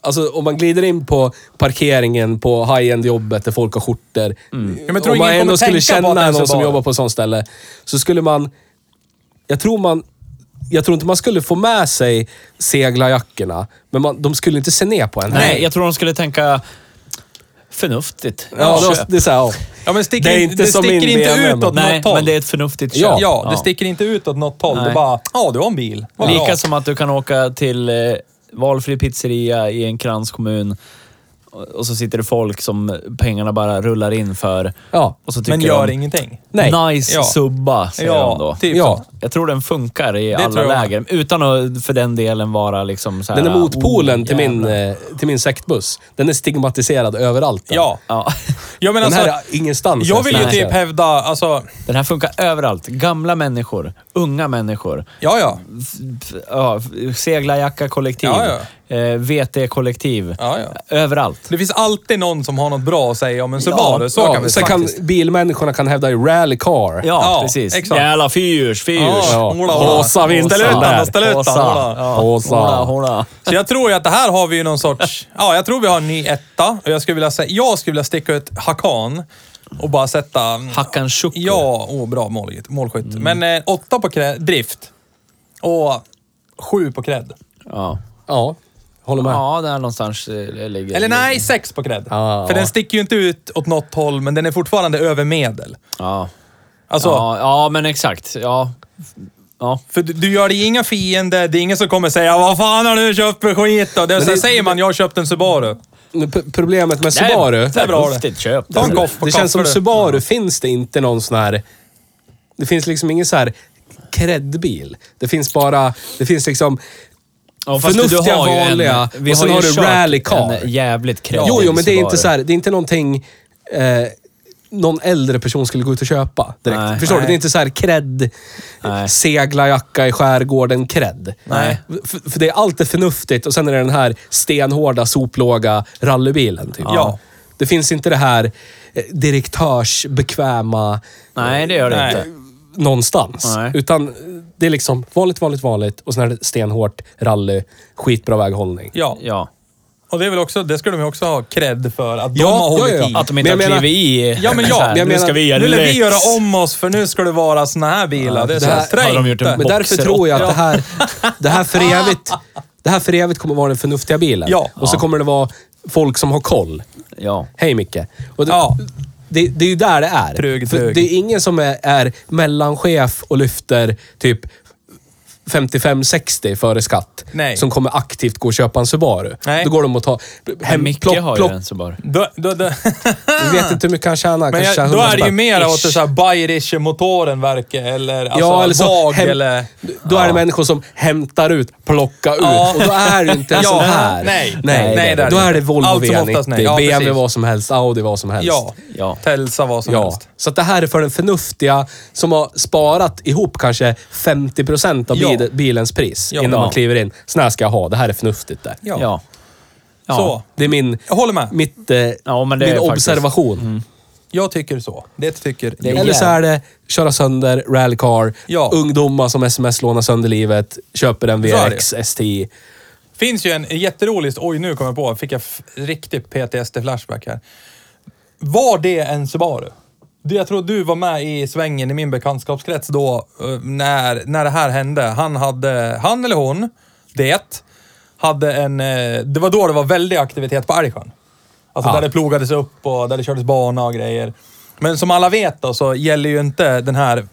S3: Alltså om man glider in på parkeringen på high-end jobbet där folk har skjortor.
S2: Mm. men jag tror
S3: Om man
S2: ingen kommer
S3: ändå skulle
S2: tänka på att det
S3: känna
S2: är
S3: någon som
S2: Subaru.
S3: jobbar på ett sånt ställe, så skulle man... Jag tror man... Jag tror inte man skulle få med sig seglarjackorna, men man, de skulle inte se ner på en.
S4: Nej, jag tror de skulle tänka förnuftigt.
S3: Ja,
S4: Köp.
S3: det, det är så här, ja.
S2: Ja, men sticker
S3: Det är
S2: inte,
S3: inte
S2: det
S3: som min
S2: sticker inte
S3: BMW.
S2: utåt
S4: Nej,
S2: något håll.
S4: men det är ett förnuftigt köp.
S2: ja, det sticker inte utåt något håll. Det
S4: Nej.
S2: är bara, ja du har en bil. Vad bra.
S4: Lika som att du kan åka till eh, valfri pizzeria i en kranskommun och- och så sitter det folk som pengarna bara rullar in för.
S3: Ja.
S4: och så tycker
S2: Men gör
S4: de,
S2: ingenting.
S3: Nej.
S4: Nice
S2: Ja.
S4: subba, säger
S2: Ja,
S4: de då.
S2: typ
S3: Ja.
S2: så.
S4: Jag tror den funkar i alla
S2: tror jag
S4: läger. Utan att för den delen vara liksom så här,
S3: Den
S2: Ah,
S3: är motpolen
S4: oh,
S3: till, min,
S4: jävlar.
S3: eh, till min sektbuss. Den är stigmatiserad överallt. den.
S2: Ja.
S4: Ja.
S2: Jag menar
S3: Den här
S2: alltså,
S3: är ingenstans.
S2: jag vill ju
S3: ens
S2: typ
S3: nära.
S2: hävda, alltså,
S4: Den här funkar överallt. Gamla människor, unga människor.
S2: ja ja.
S4: ja, seglarjacka-kollektiv,
S2: Ja,
S4: eh, VT-kollektiv.
S2: Ja, ja.
S4: Överallt.
S2: Det finns alltid någon som har något bra att säga om en Subaru, så
S3: Ja,
S2: kan vi säga.
S3: sen kan bilmänniskorna kan hävda ju rallycar.
S4: Ja,
S2: Ja,
S4: precis.
S2: exakt.
S4: Jävla fyrs, fyrs.
S3: Ja.
S2: Ola,
S3: Åsa vinst,
S2: Ställ ut
S3: Åsa.
S2: den, ställ ut den.
S4: Åsa.
S2: Ola.
S4: Ja.
S3: Åsa.
S4: Hola, hola.
S2: Så jag tror ju att det här har vi ju någon sorts, ja jag tror vi har en ny etta och jag skulle vilja säga, jag skulle vilja sticka ut Hakan och bara sätta... mm,
S4: Hakan Şükür.
S2: Ja, åh bra målskytt. målskytt.
S3: Mm.
S2: Men eh, åtta på krä, drift och sju på cred.
S4: Ja.
S3: Ja, håller med.
S4: ja, där någonstans eh, ligger...
S2: Eller nej, sex på cred.
S3: Ja.
S2: För den sticker ju inte ut åt något håll, men den är fortfarande över medel.
S4: Ja.
S2: Alltså,
S4: Ja, ja, men exakt. Ja. Ja.
S2: för du, du gör dig inga fiender, det är ingen som kommer säga “Vad fan har du köpt för skit då?” det, är så här, Säger man “Jag har köpt en Subaru”.
S3: Men p- Problemet med
S4: Det är-
S3: Subaru,
S4: Det är
S2: bra
S4: bra
S2: det.
S4: det. köp.
S2: Ta en
S4: det.
S2: kopp och
S3: det känns som
S2: kaffe, du.
S3: Subaru finns det inte någon sån här Det finns liksom ingen så här kreddbil. Det finns bara, det finns liksom
S4: Ja,
S3: förnuftiga, vanliga
S4: vi
S3: och sen
S4: ju
S3: har du
S4: kört
S3: rallycar.
S4: en jävligt kreddig
S3: Jo, jo, men det är
S4: Subaru.
S3: inte så här, det är inte någonting eh, någon äldre person skulle gå ut och köpa direkt.
S4: Nej.
S3: Förstår du?
S2: Nej.
S3: Det är inte så här cred,
S4: Nej.
S3: seglarjacka i skärgården cred.
S4: Nej.
S3: För, för det är alltid förnuftigt och sen är det den här stenhårda, soplåga rallybilen. Typ.
S2: Ja.
S3: Det finns inte det här eh, direktörsbekväma eh,
S4: Nej, det gör det
S2: Nej.
S4: inte.
S3: någonstans.
S4: Nej.
S3: Utan eh, det är liksom vanligt, vanligt, vanligt och sen är det stenhårt rally, skitbra väghållning.
S2: Ja,
S4: Ja.
S2: och det är väl också, det skulle de ju också ha cred för. Att de
S3: Ja,
S2: har hållit
S3: ja, ja.
S2: i.
S4: Att de inte
S3: Men jag
S4: har
S3: menar-
S4: klivit i.
S2: Ja, men
S4: Så
S2: ja,
S4: här,
S2: men jag
S4: nu ska
S3: menar-
S4: vi göra
S2: Nu vill vi
S4: läx.
S2: göra om oss för nu ska det vara såna här bilar. det är
S3: det
S2: så här,
S3: här
S2: trä
S4: hade de gjort
S2: inte.
S3: Men
S4: en Boxer
S3: därför tror jag att
S2: åtta.
S3: det här, det här för evigt, det här för evigt kommer vara den förnuftiga bilen.
S2: Ah. Ja.
S3: Och så
S4: Ja.
S3: kommer det vara folk som har koll.
S4: Ja.
S3: Hej Micke. Och det,
S2: Ja.
S3: det, det är ju där det är.
S2: Trög,
S3: För
S2: trög.
S3: det är ingen som är, är mellanchef och lyfter typ 55-60 före skatt.
S2: Nej.
S3: Som kommer aktivt gå och köpa en Subaru.
S2: Nej.
S3: Då går de och tar... Hem,
S4: Micke
S3: plock,
S4: har
S3: plock.
S4: ju en Subaru.
S2: Då, då, då,
S3: Jag vet inte hur mycket han tjänar.
S2: men
S3: kanske
S2: jag,
S3: tjänar
S2: då
S3: 100
S2: är det ju
S3: spänn.
S2: mer åt
S3: Ish.
S2: det så här bayerische motoren verkar eller alltså
S3: ja, eller så,
S2: Vag
S3: hem,
S2: eller...
S3: Då är det människor som hämtar ut, plockar ut.
S2: Ja.
S3: Och då är det inte en
S2: Ja,
S3: sån här.
S2: nej.
S3: nej,
S2: Nej, det är
S3: Då
S2: det
S3: är det
S2: inte.
S3: Volvo
S2: Allt som
S3: V90,
S2: oftast nej. Ja,
S3: BMW
S2: precis.
S3: vad som helst, Audi vad som helst.
S2: Ja.
S4: Ja.
S2: Telsa vad som
S3: Ja,
S2: helst.
S3: så att det här är för den förnuftiga som har sparat ihop kanske 50% av
S2: Ja.
S3: bil, bilens pris
S2: Ja.
S3: innan
S2: Ja.
S3: man kliver in. Sån här ska jag ha, det här är förnuftigt det.
S2: Ja.
S4: Ja. Ja.
S2: Så.
S3: Det är min,
S2: Jag håller med.
S3: mitt, eh,
S4: Ja, men det
S3: min
S4: är faktiskt- Mm.
S3: observation.
S2: Jag tycker så. Det tycker
S4: Det är
S2: jag.
S3: Eller så är det köra sönder rallycar,
S2: Ja.
S3: ungdomar som sms-lånar sönder livet, köper en
S2: Så är det.
S3: VRX STI.
S2: finns ju en jätterolig... Oj, nu kom jag på. Fick jag f- riktigt PTSD-flashback här. Var det en Subaru? Du, Jag tror du var med i svängen i min bekantskapskrets då eh, när, när det här hände. Han, hade, han eller hon, det, hade en... eh, Det var då det var väldig aktivitet på Älvsjön. Alltså
S3: Ja.
S2: där det plogades upp och där det kördes bana och grejer. Men som alla vet då så gäller ju inte den här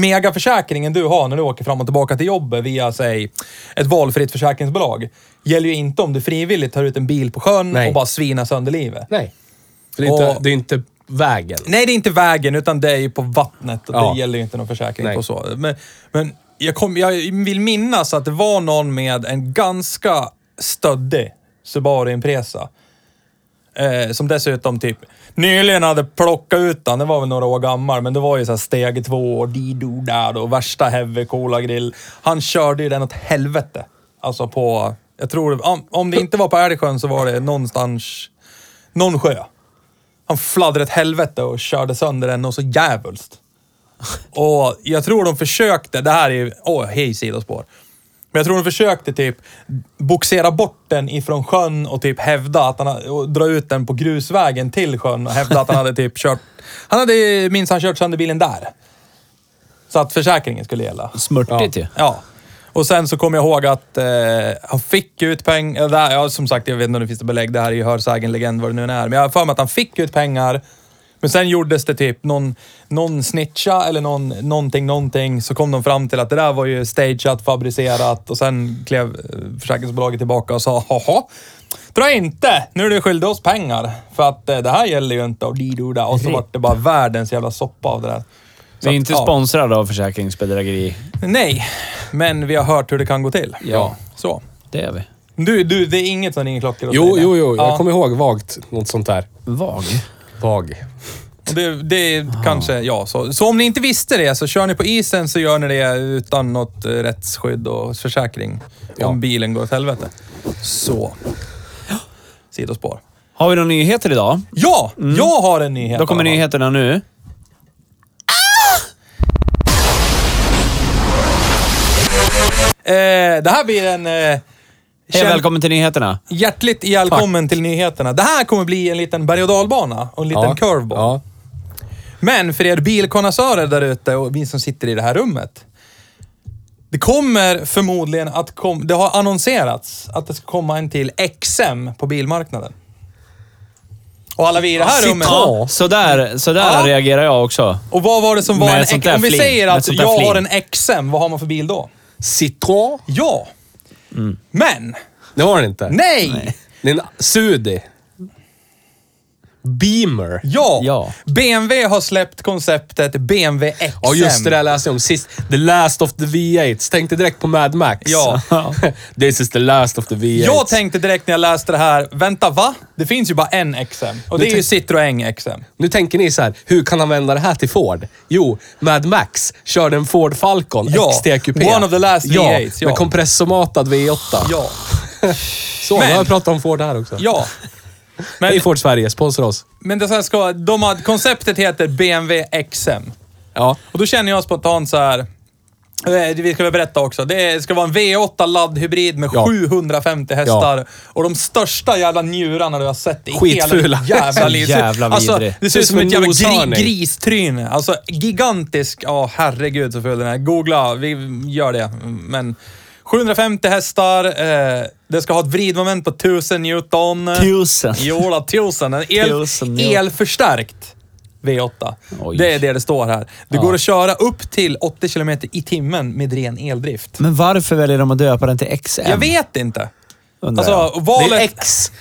S2: megaförsäkringen du har när du åker fram och tillbaka till jobbet via, säg, ett valfritt försäkringsbolag. Gäller ju inte om du frivilligt tar ut en bil på sjön
S3: Nej.
S2: och bara svinar sönder livet.
S3: Nej. För det, är inte,
S2: Och-
S3: det är inte vägen.
S2: Nej, det är inte vägen, utan det är ju på vattnet. Och
S3: Ja.
S2: Det gäller ju inte någon försäkring
S3: Nej.
S2: på så. Men, men jag, kom, jag vill minnas att det var någon med en ganska stöddig Subaru Impresa. Eh, som dessutom typ nyligen hade plockat ut den. Den var väl några år gammal, men det var ju så här steg två och dido där och värsta heavy cola grill. Han körde ju den åt helvete. Alltså på, jag tror, om, om det inte var på Älvsjön så var det någonstans, någon sjö. Han fladdrade ett helvete och körde sönder den och så jävulst. Och jag tror de försökte, det här är ju, åh, hej sidospår. Men jag tror de försökte typ boxera bort den ifrån sjön och typ hävda att han, ha- och dra ut den på grusvägen till sjön och hävda att han hade typ kört, han hade minst han kört sönder bilen där. Så att försäkringen skulle gälla.
S4: Smörtigt ju.
S2: Ja. Och sen så kommer jag ihåg att eh, han fick ut pengar. Det här, ja, som sagt, jag vet inte om det finns det belägg. Det här är ju hörsägen, legend, vad det nu än är. Men jag har för mig att han fick ut pengar. Men sen gjordes det typ någon, någon snitcha eller någon, någonting, någonting. Så kom de fram till att det där var ju stageat, fabricerat och sen klev eh, försäkringsbolaget tillbaka och sa haha. Dra inte! Nu är du skyldig oss pengar. För att eh, det här gäller ju inte och didoda. Och så vart det bara världens jävla soppa av det där.
S4: Vi är inte
S2: ja.
S4: sponsrade av försäkringsbedrägeri.
S2: Nej, men vi har hört hur det kan gå till.
S4: Ja.
S2: Så.
S4: Det är vi.
S2: Du, du det är inget som ringer klockor åt dig,
S3: Jo,
S2: nej.
S3: jo, jo. Jag
S2: Ja,
S3: kommer ihåg vagt något sånt där.
S4: Vag.
S3: Vag.
S2: och Det, det är
S4: Ah.
S2: kanske, ja. Så, så om ni inte visste det, så kör ni på isen så gör ni det utan något eh, rättsskydd och försäkring.
S3: Ja.
S2: Om bilen går åt helvete. Så. Sidospår.
S4: Har vi några nyheter idag?
S2: Ja!
S3: Mm.
S2: Jag har en nyhet.
S4: Då kommer
S2: Adam.
S4: nyheterna nu.
S2: Eh, det här blir en... Eh,
S4: Hej
S2: känd-
S4: välkommen till nyheterna.
S2: Hjärtligt välkommen till nyheterna. Det här kommer bli en liten berg och dalbana och en liten curveball.
S3: Ja.
S2: Men för er bilkonnässörer där ute och vi som sitter i det här rummet. Det kommer förmodligen att kom, det har annonserats att det ska komma en till XM på bilmarknaden. Och alla vi i det här rummet.
S4: Ja, sådär, sådär
S2: Ja.
S4: reagerar jag också.
S2: Och vad var det som var
S4: Med
S2: en
S4: sånt
S2: X-
S4: där
S2: Om vi
S4: flin.
S2: säger
S4: Med
S2: att
S4: sånt där
S2: jag har
S4: flin.
S2: en XM, vad har man för bil då?
S3: Citroën?
S2: Ja. Men,
S4: Mm.
S3: Det har den inte.
S2: nej!
S3: Det är en Sudi. Beamer.
S2: Ja.
S4: Ja.
S2: BMW har släppt konceptet BMW XM.
S3: Ja, just det där läste jag om sist. The last of the V8. Tänkte direkt på Mad Max.
S2: Ja.
S3: This is the last of the V8.
S2: Jag tänkte direkt när jag läste det här, vänta va? Det finns ju bara en XM. Och det är ju Citroën XM.
S3: Nu tänker ni så här, hur kan han vända det här till Ford? Jo, Mad Max körde en Ford Falcon
S2: Ja,
S3: XT Coupé.
S2: one of the last
S3: ja,
S2: V8s, ja.
S3: med kompressormatad V8.
S2: Ja.
S3: Så,
S2: Men-
S3: nu har jag pratat om Ford här också.
S2: Ja.
S3: Hej
S2: Men,
S3: Ford Sverige, sponsra oss.
S2: men det så här ska, de har, konceptet heter BMW XM.
S3: Ja.
S2: Och då känner jag spontant så här. eh, Vi ska väl berätta också. Det ska vara en V8 laddhybrid med
S3: Ja.
S2: 750 hästar och de största jävla njurarna du har sett i
S3: Skitfula.
S2: hela ditt jävla liv.
S4: Jävla
S2: alltså,
S4: vidrig.
S2: det ser ut som ett jävla gri,
S3: noshörning.
S2: gristryne. Alltså gigantisk. Ja, herregud så full den är. Googla, vi gör det. Men 750 hästar, eh, det ska ha ett vridmoment på 1000 Newton.
S4: Tusen.
S2: Jola, 1000. En el,
S4: Tusen, ja.
S2: elförstärkt V8.
S4: Oj.
S2: Det är det det står här. Det går att köra upp till 80 km i timmen med ren eldrift.
S4: Men varför väljer de att döpa den till XM?
S2: Jag vet inte.
S4: Undrar
S2: Alltså,
S4: jag.
S2: valet...
S3: Det är X.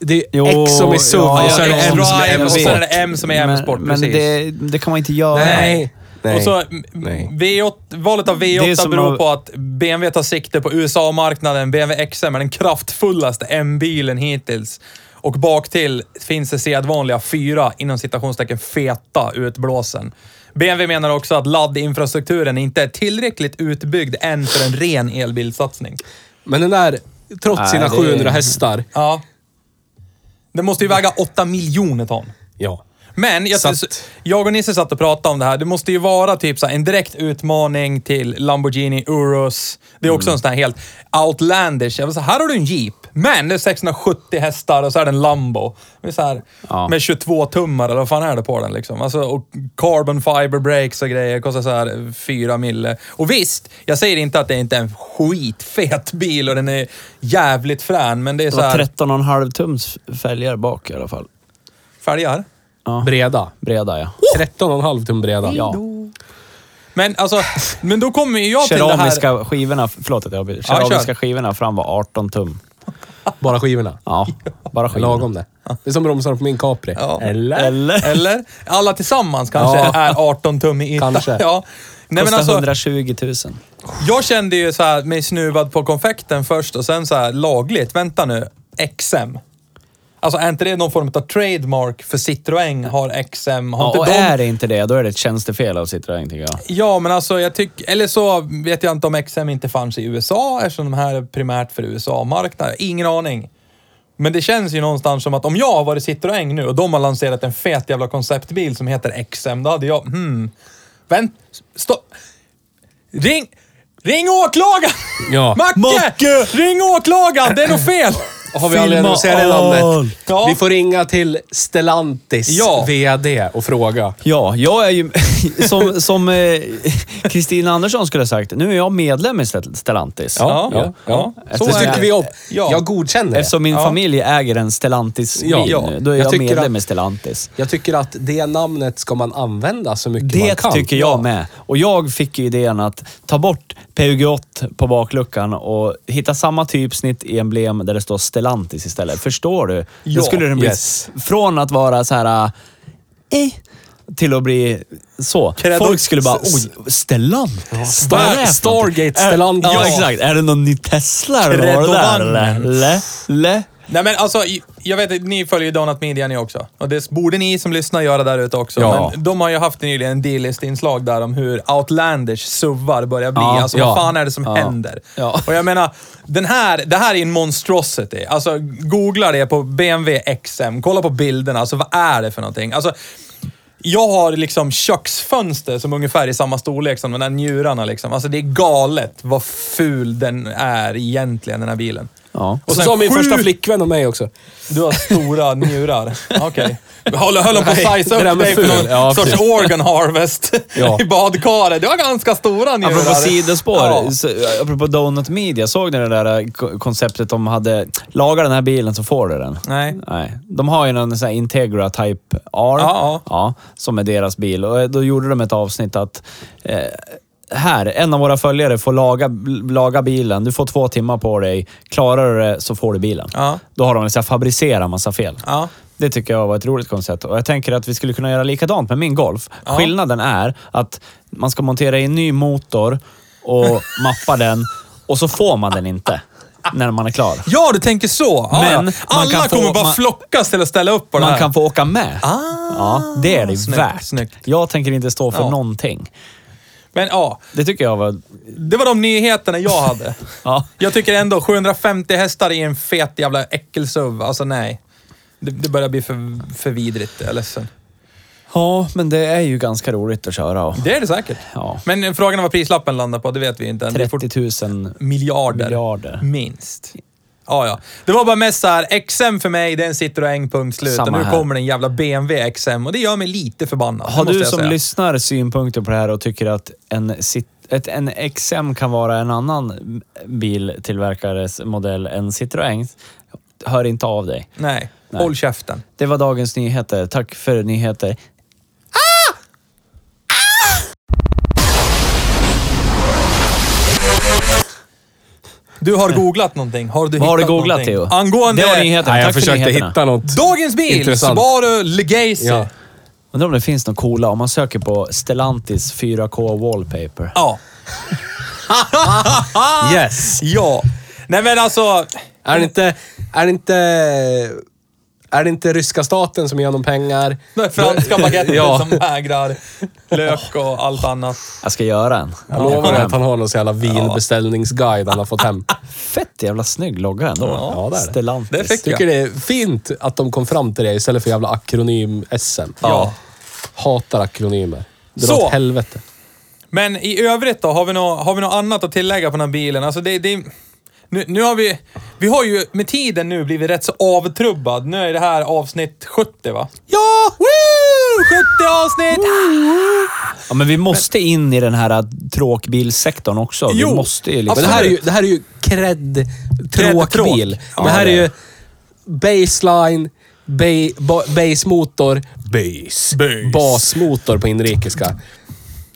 S3: Det är
S4: Jo,
S3: X som är SUV
S4: ja,
S3: och så är det
S2: ja,
S3: M som är
S2: drive
S3: M
S2: och
S3: sport.
S2: sen är det M som är M sport,
S4: Men, men
S2: precis.
S4: det, det kan man inte göra.
S2: Nej.
S3: Nej.
S2: Och så,
S3: Nej.
S2: V8, valet av
S4: Det är
S2: V8
S4: som
S2: beror
S4: av-
S2: på att BMW tar sikte på USA-marknaden. BMW XM är den kraftfullaste M-bilen hittills. Och bak till finns det sedvanliga fyra, inom citationstecken, feta utblåsen. BMW menar också att laddinfrastrukturen inte är tillräckligt utbyggd än för en ren elbilssatsning.
S3: Men den där, trots
S4: Nej,
S3: sina
S4: det är-
S3: 700 hästar.
S2: Ja. Den måste ju väga 8 miljoner ton.
S3: Ja.
S2: Men jag,
S3: Så att-
S2: jag och Nisse satt och pratade om det här. Det måste ju vara typ så här, en direkt utmaning till Lamborghini Urus. Det är också en sån här helt outlandish. Jag var så här, här har du en Jeep, men det är 670 hästar och så är det en Lambo. Det är så här,
S4: Ja.
S2: Med 22 tummar eller vad fan är det på den liksom? Alltså, och carbon fiber brakes och grejer. Kostar så här 4 mille. Och visst, jag säger inte att det inte är en skitfet bil och den är jävligt frän, men det är
S4: Det
S2: så
S4: var
S2: här...
S4: 13,5 tums fälgar bak i alla fall.
S2: Fälgar.
S4: Ja.
S3: Breda.
S2: Oh!
S4: Breda ja.
S3: 13,5 tum breda.
S4: ja.
S2: Men alltså, men då kommer ju jag till det här...
S4: Keramiska skivorna, förlåt att jag avbryter.
S2: Ja, kör.
S4: Keramiska skivorna fram var 18 tum.
S3: Bara skivorna.
S4: Ja, bara skivorna.
S3: Lagom det. Det är som bromsarna på min Capri.
S2: Ja.
S3: Eller?
S4: Eller?
S2: Eller? Alla tillsammans kanske
S3: Ja.
S2: är 18 tum i yta.
S3: Kanske.
S2: Ja. Nej, men
S4: Kostar
S2: alltså,
S4: 120 000.
S2: jag kände ju så här, mig snuvad på konfekten först och sen så här lagligt. Vänta nu, XM. Alltså är inte det någon form av trademark för Citroën har XM? Har
S4: Ja, och
S2: inte de...
S4: är det inte det, då är det ett tjänstefel av Citroën tycker jag.
S2: Ja, men alltså jag tycker... Eller så vet jag inte om XM inte fanns i USA eftersom de här är primärt för USA-marknaden. Ingen aning. Men det känns ju någonstans som att om jag har varit Citroën nu och de har lanserat en fet jävla konceptbil som heter XM, då hade jag... Hmm. Vänt... Stopp. Ring... Ring åklagaren!
S3: Ja.
S2: Macke!
S4: Macke!
S2: Ring åklagaren! Det är nog fel!
S3: Har vi aldrig
S4: Filma
S3: annonserat namnet?
S4: allt.
S2: Ja.
S3: Vi får ringa till Stellantis
S2: Ja.
S3: VD och fråga.
S4: Ja, jag är ju... Som, som eh, Kristina Andersson skulle ha sagt, nu är jag medlem i Stel- Stellantis.
S2: Ja, ja,
S4: ja.
S3: Så
S4: Eftersom
S3: tycker
S4: jag-
S3: vi om.
S2: ja.
S3: Jag godkänner det.
S4: Eftersom min
S2: Ja.
S4: familj äger en Stellantis
S3: Ja.
S4: bil
S2: Ja.
S4: nu, då är
S3: Jag
S4: jag,
S3: tycker
S4: medlem
S3: att-
S4: i Stellantis.
S3: Jag tycker att det namnet ska man använda så mycket man
S4: Det
S3: kan.
S4: tycker jag med. Och jag fick ju idén att ta bort PUG8 på bakluckan och hitta samma typsnitt i emblem där det står Stellantis istället. Förstår du?
S2: Ja,
S4: Då skulle den bli
S3: yes.
S4: Från att vara så här... Eh, till att bli så.
S2: Kredo-
S4: Folk skulle bara,
S2: s-
S4: oj, Stellantis?
S3: Star-
S4: Vad är det för
S3: Stargate Stellantis.
S4: någonting? Är, ja,
S3: Ja.
S4: exakt. Är det någon ny Tesla eller vad det där?
S2: Kredovangen.
S4: eller? Le, le.
S2: Nej men alltså, jag vet att ni följer ju Donut Media ni också. Och det borde ni som lyssnar göra där ute också.
S4: Ja.
S2: Men de har ju haft nyligen en D-list-inslag där om hur outlandish suvar börjar bli.
S4: Ja,
S2: alltså
S4: ja.
S2: vad fan är det som
S4: Ja.
S2: händer?
S4: Ja.
S2: Och jag menar, den här, det här är en monstrosity. Alltså googla det på BMW XM, kolla på bilderna. Alltså vad är det för någonting? Alltså, jag har liksom köksfönster som ungefär i samma storlek som de där njurarna liksom. Alltså det är galet vad ful den är egentligen, den här bilen.
S4: Ja.
S3: Och så
S2: sen
S3: sa min
S2: sju-
S3: första flickvän och mig också.
S2: du har stora njurar. Okej. Höll, höll de på att
S3: Nej,
S2: size
S3: det där
S2: upp
S3: med
S2: dig för
S3: ful.
S2: någon
S3: Ja,
S2: sorts
S3: precis.
S2: organ harvest
S3: Ja.
S2: i badkaret? Du har ganska stora njurar.
S4: Apropå sidospår,
S2: Ja.
S4: så, apropå Donut Media, såg ni det där eh, ko- konceptet de hade? Laga den här bilen så får du den.
S2: Nej.
S4: Nej. De har ju någon sån här Integra Type R,
S2: ja.
S4: som är deras bil. Och eh, då gjorde de ett avsnitt att eh, här, en av våra följare får laga, laga bilen. Du får två timmar på dig. Klarar du det så får du bilen.
S2: Ja.
S4: Då har de liksom fabricerat massa fel.
S2: Ja.
S4: Det tycker jag var ett roligt koncept och jag tänker att vi skulle kunna göra likadant med min Golf. Skillnaden är att man ska montera in ny motor och mappa den och så får man den inte när man är klar.
S2: Ja, du tänker så! Ja,
S4: Men
S2: ja.
S4: man
S2: Alla
S4: kan få-
S2: kommer bara
S4: man-
S2: flockas till att ställa upp på det
S4: Man
S2: här.
S4: kan få åka med.
S2: Ah,
S4: ja, det är det
S2: snyggt,
S4: värt.
S2: snyggt.
S4: Jag tänker inte stå för
S2: Ja.
S4: någonting.
S2: Men ja,
S4: Det tycker jag var...
S2: det var de nyheterna jag hade.
S4: Ja.
S2: Jag tycker ändå 750 hästar i en fet jävla äckelsuv. Alltså nej. Det, det börjar bli för, för vidrigt. Jag är ledsen.
S4: ja, men det är ju ganska roligt att köra. Och,
S2: Det är det säkert.
S4: ja,
S2: Men frågan är vad prislappen landar på, det vet vi inte. än. Det är fort-
S4: 30 000
S2: miljarder.
S4: miljarder.
S2: Minst. Ja, ja. Det var bara mest såhär, XM för mig, den sitter och en punkt slut.
S4: Samma
S2: och nu
S4: här.
S2: kommer den jävla BMW XM och det gör mig lite förbannad. det
S4: Har
S2: måste
S4: du
S2: jag
S4: som
S2: säga.
S4: lyssnar synpunkter på det här och tycker att en, sit, ett, en XM kan vara en annan biltillverkares modell än Citroën, hör inte av dig.
S2: Nej.
S4: Nej.
S2: håll käften.
S4: Det var dagens nyheter. Tack för nyheter.
S2: Du har googlat någonting. Har du
S4: Vad har du
S2: hittat
S4: googlat,
S2: någonting?
S4: Theo?
S2: Angående
S4: Det var nyheterna.
S3: Nej, jag
S4: Tack för
S3: försökte
S4: nyheterna.
S3: hitta något.
S2: Dagens bil,
S3: Intressant.
S2: Subaru Legacy.
S3: Ja.
S2: Ja.
S4: Undrar om det finns något coola. Om man söker på Stellantis 4K Wallpaper.
S2: ja.
S3: Yes!
S2: Nej men alltså,
S3: Är det inte... Är det inte... Är det inte ryska staten som ger honom pengar?
S2: den franska baguetten
S3: Ja.
S2: som vägrar lök och allt annat.
S4: Jag ska göra en.
S3: Jag lovar dig att han har någon sån jävla vinbeställningsguide han har fått hem.
S4: Fett jävla snygg logga ändå.
S3: Ja, det är det.
S4: Stellantis.
S2: Det är fett.
S3: Tycker det är fint att de kom fram till det istället för jävla akronym-SM.
S2: Ja.
S3: Hatar akronymer. Dra
S2: Så.
S3: åt helvete.
S2: Men i övrigt då, har vi något, har vi något annat att tillägga på den här bilen? Alltså det, det, nu, nu har vi, vi har ju med tiden nu blivit rätt så avtrubbad. Nu är det här avsnitt 70 va?
S3: Ja!
S2: Woo! 70 avsnitt!
S4: Ja, men vi måste in i den här tråkbilsektorn också.
S2: Jo,
S4: vi måste ju liksom...
S3: Men det här är ju, det här är ju cred, tråkbil.
S2: Ja,
S3: det här
S4: det
S3: är
S4: är
S3: ju baseline, ba, ba, basemotor, base.
S2: Base.
S3: basmotor på inrikeska.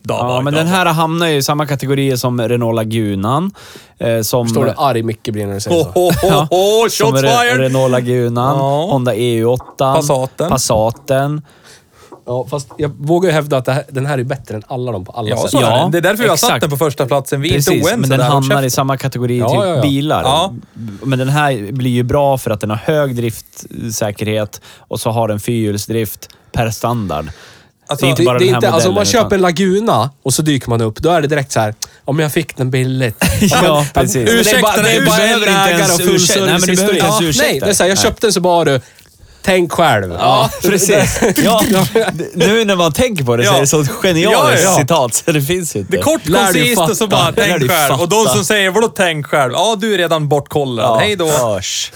S4: Ja, men den här hamnar ju i samma kategori som Renault Lagunan. Eh, som,
S3: Förstår du hur arg Micke blir när du säger
S2: Ho,
S3: så?
S2: ho, ho, ho, shots
S4: som Re-
S2: fired!
S4: Renault Lagunan,
S2: Ja.
S4: Honda EU8,
S2: Passaten.
S4: Passaten.
S3: Ja, fast jag vågar ju hävda att det här, den här är bättre än alla de på alla
S2: Ja,
S3: sätt.
S2: så är
S4: Ja,
S2: det. Det är därför vi har satt
S4: exakt.
S2: den på första platsen. Vi är inte
S4: Precis,
S2: oense
S4: men den
S2: där. Håll
S4: hamnar i
S2: käften.
S4: samma kategori
S3: Ja,
S4: till
S3: ja, ja.
S4: bilar.
S2: Ja.
S4: Men den här blir ju bra för att den har hög driftsäkerhet och så har den fyrhjulsdrift per standard.
S2: Alltså,
S4: det är inte
S3: Det,
S4: bara
S3: det är
S4: den här
S3: inte, alltså om man
S4: modellen,
S3: köper en Laguna och så dyker man upp, då är det direkt så här. om jag fick den billigt.
S4: utan- Ja, precis.
S3: Men det är bara,
S2: Ursäkta,
S3: det är
S2: du
S3: bara
S2: behöver
S3: en
S2: inte
S3: ägare
S4: ens
S3: och full
S4: ursäkta. Nej, men du
S3: servicehistoria.
S4: behöver inte ens ursäkta.
S3: Nej, det är så här, jag köpte en Subaru. Tänk själv.
S4: Ja, precis. Ja, nu när man tänker på det så
S2: Ja.
S4: är det så genialt
S2: Ja, ja, ja.
S4: citat så det finns ju inte.
S2: Det är kort,
S3: Lär dig
S2: koncist och så
S3: fatta.
S2: bara
S4: Lär dig
S2: tänk själv. Och de
S4: fatta.
S2: som säger vadå tänk själv? Ja, du är redan bortkollad.
S4: Ja.
S2: Hej då.
S4: Hörs.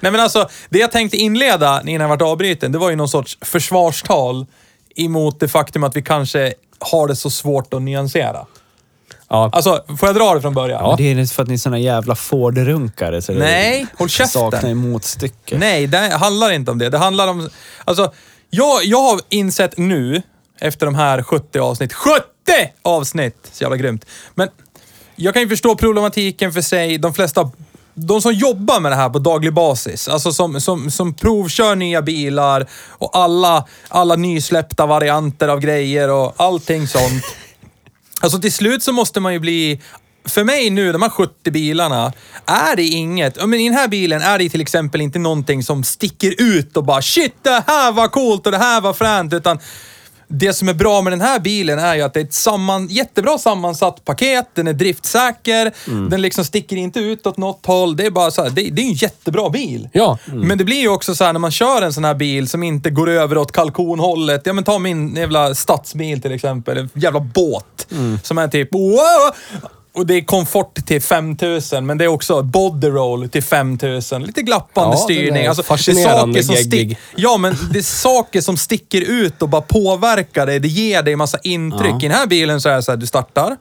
S2: Nej men alltså, det jag tänkte inleda innan jag vart avbruten, det var ju någon sorts försvarstal emot det faktum att vi kanske har det så svårt att nyansera.
S3: Ja.
S2: Alltså, får jag dra det från början?
S4: Men Det är inte för att ni är såna jävla Ford-runkare. Så det
S2: Nej, håll käften.
S4: Saknar ju motstycke.
S2: Nej, det handlar inte om det. Det handlar om... Alltså, jag, jag har insett nu, efter de här 70 avsnitt. 70 avsnitt! Så jävla grymt. Men jag kan ju förstå problematiken för sig. De flesta... De som jobbar med det här på daglig basis, alltså som, som, som provkör nya bilar och alla, alla nysläppta varianter av grejer och allting sånt. Alltså till slut så måste man ju bli... För mig nu, de här 70 bilarna, är det inget... ja, Men I den här bilen är det till exempel inte någonting som sticker ut och bara “Shit, det här var coolt och det här var fränt”, utan det som är bra med den här bilen är ju att det är ett samman, jättebra sammansatt paket, den är driftsäker, den liksom sticker inte ut åt något håll. Det är bara så här, det, det är ju en jättebra bil.
S3: Ja.
S2: Men det blir ju också så här när man kör en sån här bil som inte går över åt kalkonhållet. Ja men ta min jävla stadsbil till exempel, en jävla båt.
S3: Mm.
S2: Som är typ wow! Och det är komfort till 5000 men det är också body roll till 5000. Lite glappande
S3: Ja, den är
S2: styrning. Alltså,
S3: fascinerande
S2: det är saker som
S3: geggig.
S2: stick, Ja, men det är saker som sticker ut och bara påverkar dig. Det ger dig massa intryck. I den här bilen så är det så här, du startar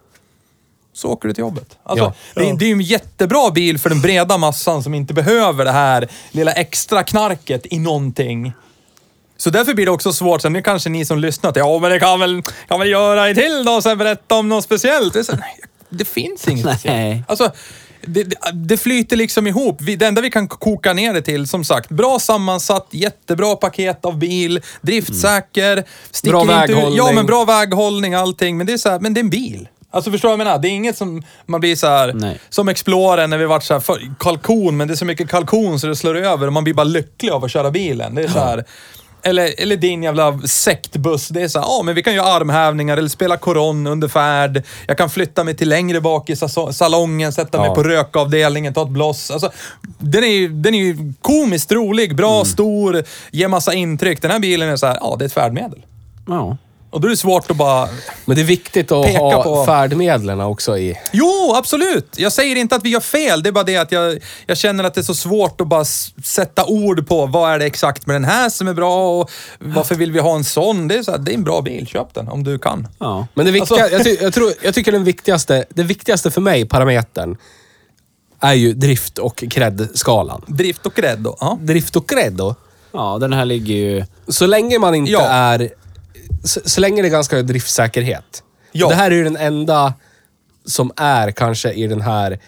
S2: så åker du till jobbet. Alltså,
S3: Ja.
S2: Det, det är ju en jättebra bil för den breda massan som inte behöver det här lilla extra knarket i någonting. Så därför blir det också svårt. Sen nu kanske ni som lyssnat, ja men det kan väl, kan väl göra en till då och sen berätta om något speciellt. Det, är så, här, nej, det finns inget
S4: Nej.
S2: speciellt. Alltså, det, det- det flyter liksom ihop. Vi, det enda vi kan koka ner det till, som sagt, bra sammansatt, jättebra paket av bil, driftsäker, sticker
S3: Bra
S2: inte ut- Ja,
S3: väghållning.
S2: men bra väghållning, allting. Men det är så här, men det är en bil. Alltså förstår du vad jag menar? Det är inget som man blir så här,
S5: Nej.
S2: som Explorer när vi vart så här, för, kalkon, men det är så mycket kalkon så det slår över och man blir bara lycklig av att köra bilen. Det är så här, eller, eller din jävla sektbuss. Det är så här, ja men vi kan göra armhävningar eller spela koron under färd. Jag kan flytta mig till längre bak i sa- salongen, sätta mig
S3: Ja.
S2: på rökavdelningen, ta ett bloss. Alltså, den är ju den är ju komiskt rolig, bra, stor, ger massa intryck. Den här bilen är så här, ja det är ett färdmedel.
S5: Ja.
S2: Och då är det svårt att bara...
S3: Men det är viktigt att
S2: Peka
S3: ha
S2: på-
S3: färdmedlen också i.
S2: Jo, absolut! Jag säger inte att vi gör fel, det är bara det att jag, jag känner att det är så svårt att bara s- sätta ord på vad är det exakt med den här som är bra och varför vill vi ha en sån? Det är, så här, det är en bra bil, köp den om du kan.
S5: ja.
S3: Men det viktiga,
S2: Alltså-
S3: jag, ty, jag, tror, jag tycker den viktigaste, den viktigaste för mig, parametern, är ju drift och cred-skalan.
S2: Drift och gräddo, ja.
S3: Drift och cred då?
S5: Ja, den här ligger ju...
S3: Så länge man inte
S2: Ja.
S3: är... Så, så länge det är ganska hög driftsäkerhet.
S2: Ja.
S3: Det här är ju den enda som är kanske i den här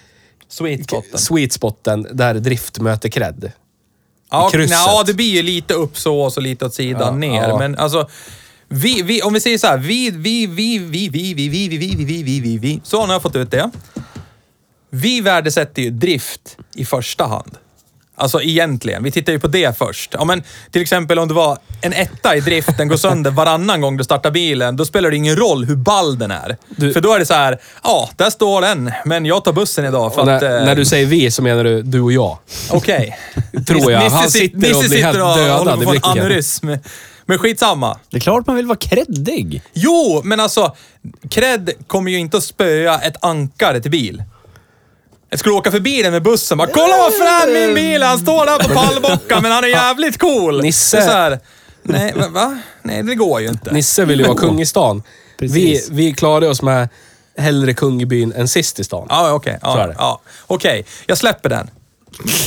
S2: Sweet spoten.
S3: sweet spoten där drift möter cred.
S2: Ja,
S3: krysset.
S2: nja, det blir ju lite upp så och så lite åt sidan
S3: Ja,
S2: ner.
S3: ja.
S2: Men alltså, vi, vi, om vi säger så här, vi, vi, vi, vi, vi, vi, vi, vi, vi, vi, vi, vi, vi, vi. Så nu har jag fått ut det. Vi värdesätter ju drift i första hand. Alltså egentligen, vi tittar ju på det först. Ja, men, till exempel om det var en etta i drift, den går sönder varannan gång du startar bilen, då spelar det ingen roll hur ball den är. För då är det så här, ja, där står den, men jag tar bussen idag för
S3: Och
S2: att...
S3: när,
S2: eh,
S3: när du säger vi så menar du du och jag.
S2: Okej.
S3: Tror jag. Han
S2: sit-
S3: sitter och blir helt dödad
S2: håller på
S3: i
S2: att få en
S3: blicken.
S2: aneurysm. Men skitsamma.
S5: Det är klart man vill vara kreddig.
S2: Jo, men alltså. Cred kommer ju inte att spöa ett ankare till bil. Jag skulle åka förbi den med bussen bara, kolla vad frän min bil är! Han står där på pallbocka, men han är jävligt cool.
S3: Nisse.
S2: Det är Så här, nej, va- va? Nej, det går ju inte.
S3: Nisse vill ju vara kung i stan. Vi,
S5: Precis.
S3: vi klarade oss med hellre kung i byn än sist i stan.
S2: Ja, okej.
S3: Så är
S2: Ja,
S3: det.
S2: ja. Okej, jag släpper den.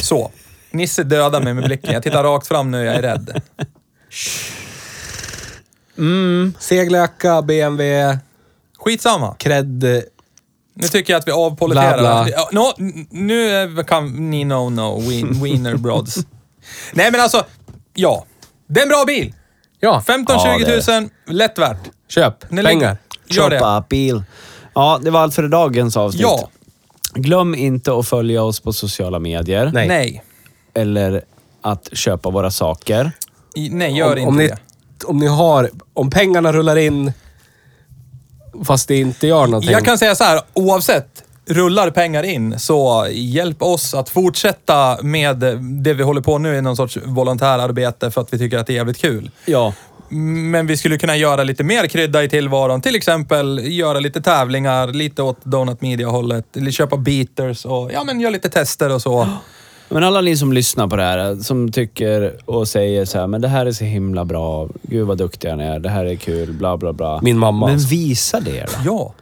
S2: Så. Nisse dödar mig med blicken. Jag tittar rakt fram nu, jag är rädd.
S3: Segelöka, BMW,
S2: Skitsamma.
S3: cred. eh,
S2: Nu tycker jag att vi avpoliterar.
S3: Bla, bla.
S2: Ja, nå, n- nu är- kan ni no no, win, winner brods. Nej men alltså, ja. Det är en bra bil.
S3: Ja,
S2: 15-20
S5: Ja, det
S2: 000,
S5: är
S2: lätt värt.
S3: köp.
S2: Ni
S3: Pengar.
S2: Gör det.
S5: Choppa bil. Ja, det var allt för dagens avsnitt.
S2: Ja.
S5: Glöm inte att följa oss på sociala medier.
S3: Nej.
S2: Nej.
S5: Eller att köpa våra saker.
S2: I- Nej, gör
S3: om,
S2: inte
S3: om ni,
S2: det.
S3: Om ni har... Om pengarna rullar in fast det inte gör någonting.
S2: Jag kan säga så här, oavsett. Rullar pengar in, så hjälp oss att fortsätta med det vi håller på nu i någon sorts volontärarbete för att vi tycker att det är jävligt kul.
S5: Ja.
S2: Men vi skulle kunna göra lite mer krydda i tillvaron. Till exempel göra lite tävlingar, lite åt Donut Media-hållet. Eller köpa beaters och ja, men göra lite tester och så.
S5: Men alla ni som lyssnar på det här, som tycker och säger så här, men det här är så himla bra, gud vad duktiga ni är, det här är kul, bla bla bla.
S3: Min mamma
S5: Men
S3: alltså.
S5: visa det då.
S2: Ja.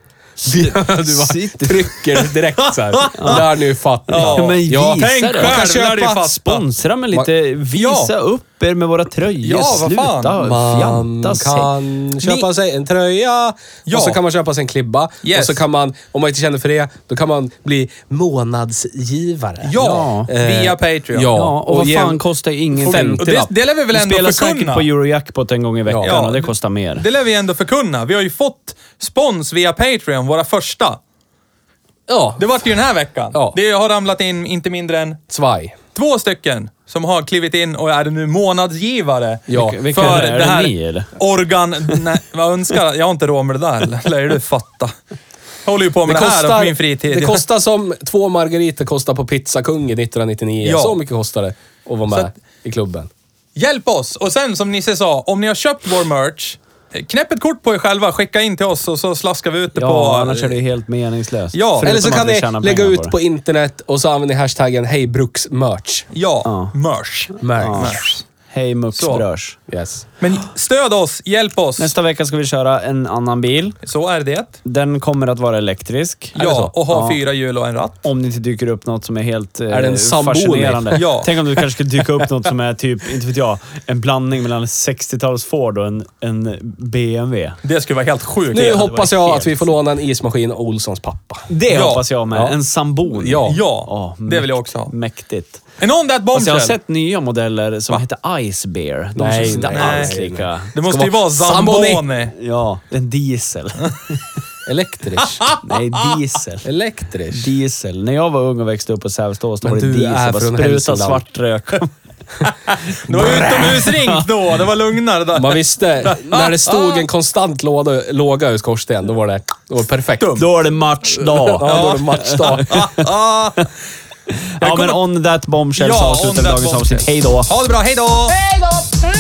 S3: du bara trycker direkt så här. Där nu fattar
S2: Ja,
S5: Men
S3: Ja.
S5: visa
S2: tänk
S5: det.
S2: själv
S5: Jag kan
S2: när du
S5: köpa,
S2: fattar.
S5: sponsra med lite, visa
S2: Ja.
S5: upp er med våra tröjor.
S2: Ja, vad fan.
S5: Sluta
S3: Man
S5: fjanta sig.
S3: kan köpa sig en tröja
S2: Ja.
S3: och så kan man köpa sig en klibba.
S2: Yes.
S3: Och så kan man, om man inte känner för det, då kan man bli månadsgivare.
S2: Ja,
S3: Eh,
S2: via Patreon.
S3: Ja,
S5: Ja, och,
S3: och
S5: vad
S3: ge-
S5: fan kostar ingenting?
S2: Och det, det lär vi väl
S5: Vi
S2: ändå
S5: spelar
S2: förkunna.
S5: säkert på Eurojackpot en gång i veckan
S2: Ja.
S5: och det kostar mer.
S2: Det lär vi ändå förkunna. Vi har ju fått spons via Patreon, våra första.
S3: Ja,
S2: Det vart ju den här veckan.
S3: Ja.
S2: Det har ramlat in inte mindre än
S3: svaj.
S2: två stycken som har klivit in och är nu månadsgivare.
S3: Ja,
S5: Vilka- vilka är det? Är det ni, eller?
S2: organ... Nej, vad önskar jag? Jag har inte råd med det där. eller? Lär du fatta. Jag håller ju på med det, här på min fritid.
S3: det kostar som två margariter kostar på Pizzakungen 1999.
S2: Ja.
S3: Så mycket kostar det att vara med
S2: Så att-
S3: i klubben.
S2: Hjälp oss! Och sen som Nisse sa, om ni har köpt vår merch, eh, knäpp ett kort på er själva, skicka in till oss och så slaskar vi ut det på...
S5: Ja, annars är det helt meningslöst.
S2: Ja.
S5: Förutom
S3: Eller så
S5: att
S3: kan
S5: vi
S3: ni
S5: tjänar
S3: lägga
S5: pengar
S3: ut på,
S5: det.
S3: internet och så använder ni hashtaggen hejbruksmerch.
S2: Ja,
S5: Ja.
S2: merch.
S3: Merch.
S2: Merch.
S4: Hej Mux
S2: Så.
S4: Brörs.
S3: Yes.
S2: Men stöd oss, hjälp oss.
S4: Nästa vecka ska vi köra en annan bil.
S2: Så är det.
S4: Den kommer att vara elektrisk. Är det så?
S2: Ja, och ha fyra hjul och en ratt.
S4: Om det inte dyker upp något som är helt eh,
S3: Är det en Zamboni?
S4: fascinerande.
S2: Ja.
S4: Tänk om det kanske skulle dyka upp något som är typ, inte vet jag, en blandning mellan en 60-tals Ford och en, en BMW.
S2: Det skulle vara helt sjukt.
S3: Nu
S2: Ja.
S3: hoppas jag
S4: helt-
S3: att vi får låna en ismaskin av Olssons pappa.
S4: Det
S2: Ja.
S4: hoppas jag med.
S3: Ja.
S4: En Sambon.
S3: Ja.
S2: Ja, det vill jag också ha.
S4: Mäktigt.
S2: And on that
S4: Fast jag har
S2: bombshell.
S4: sett nya modeller som heter Ice Bear. De
S3: Nej,
S4: känns inte
S3: nej,
S4: alls
S3: nej.
S4: lika.
S2: Det måste ju vara
S3: Zamboni.
S2: Zamboni.
S4: Ja, en diesel.
S3: Elektrisk.
S4: Nej, diesel.
S3: Elektrisk.
S4: Diesel. När jag var ung och växte upp på Sävsås, då
S3: Men
S4: var det
S3: du
S4: diesel.
S3: är
S4: Bara
S3: från
S4: spruta
S3: Hälsingland.
S4: svart rök.
S2: Det var utomhusringt då. Det var lugnare där.
S3: Man visste, när det stod en konstant låda, låga ur skorsten, då var det, då var det perfekt. Dum.
S4: då är det matchdag.
S3: Ja, då var det matchdag.
S2: Ah, ah.
S4: Ja, men on that bombshell
S2: Ja,
S4: så
S2: on
S4: avslutar vi
S2: that
S4: dagens avsnitt.
S2: bombshell.
S4: Hej då!
S2: Ha det bra, hej då!
S6: Hej då!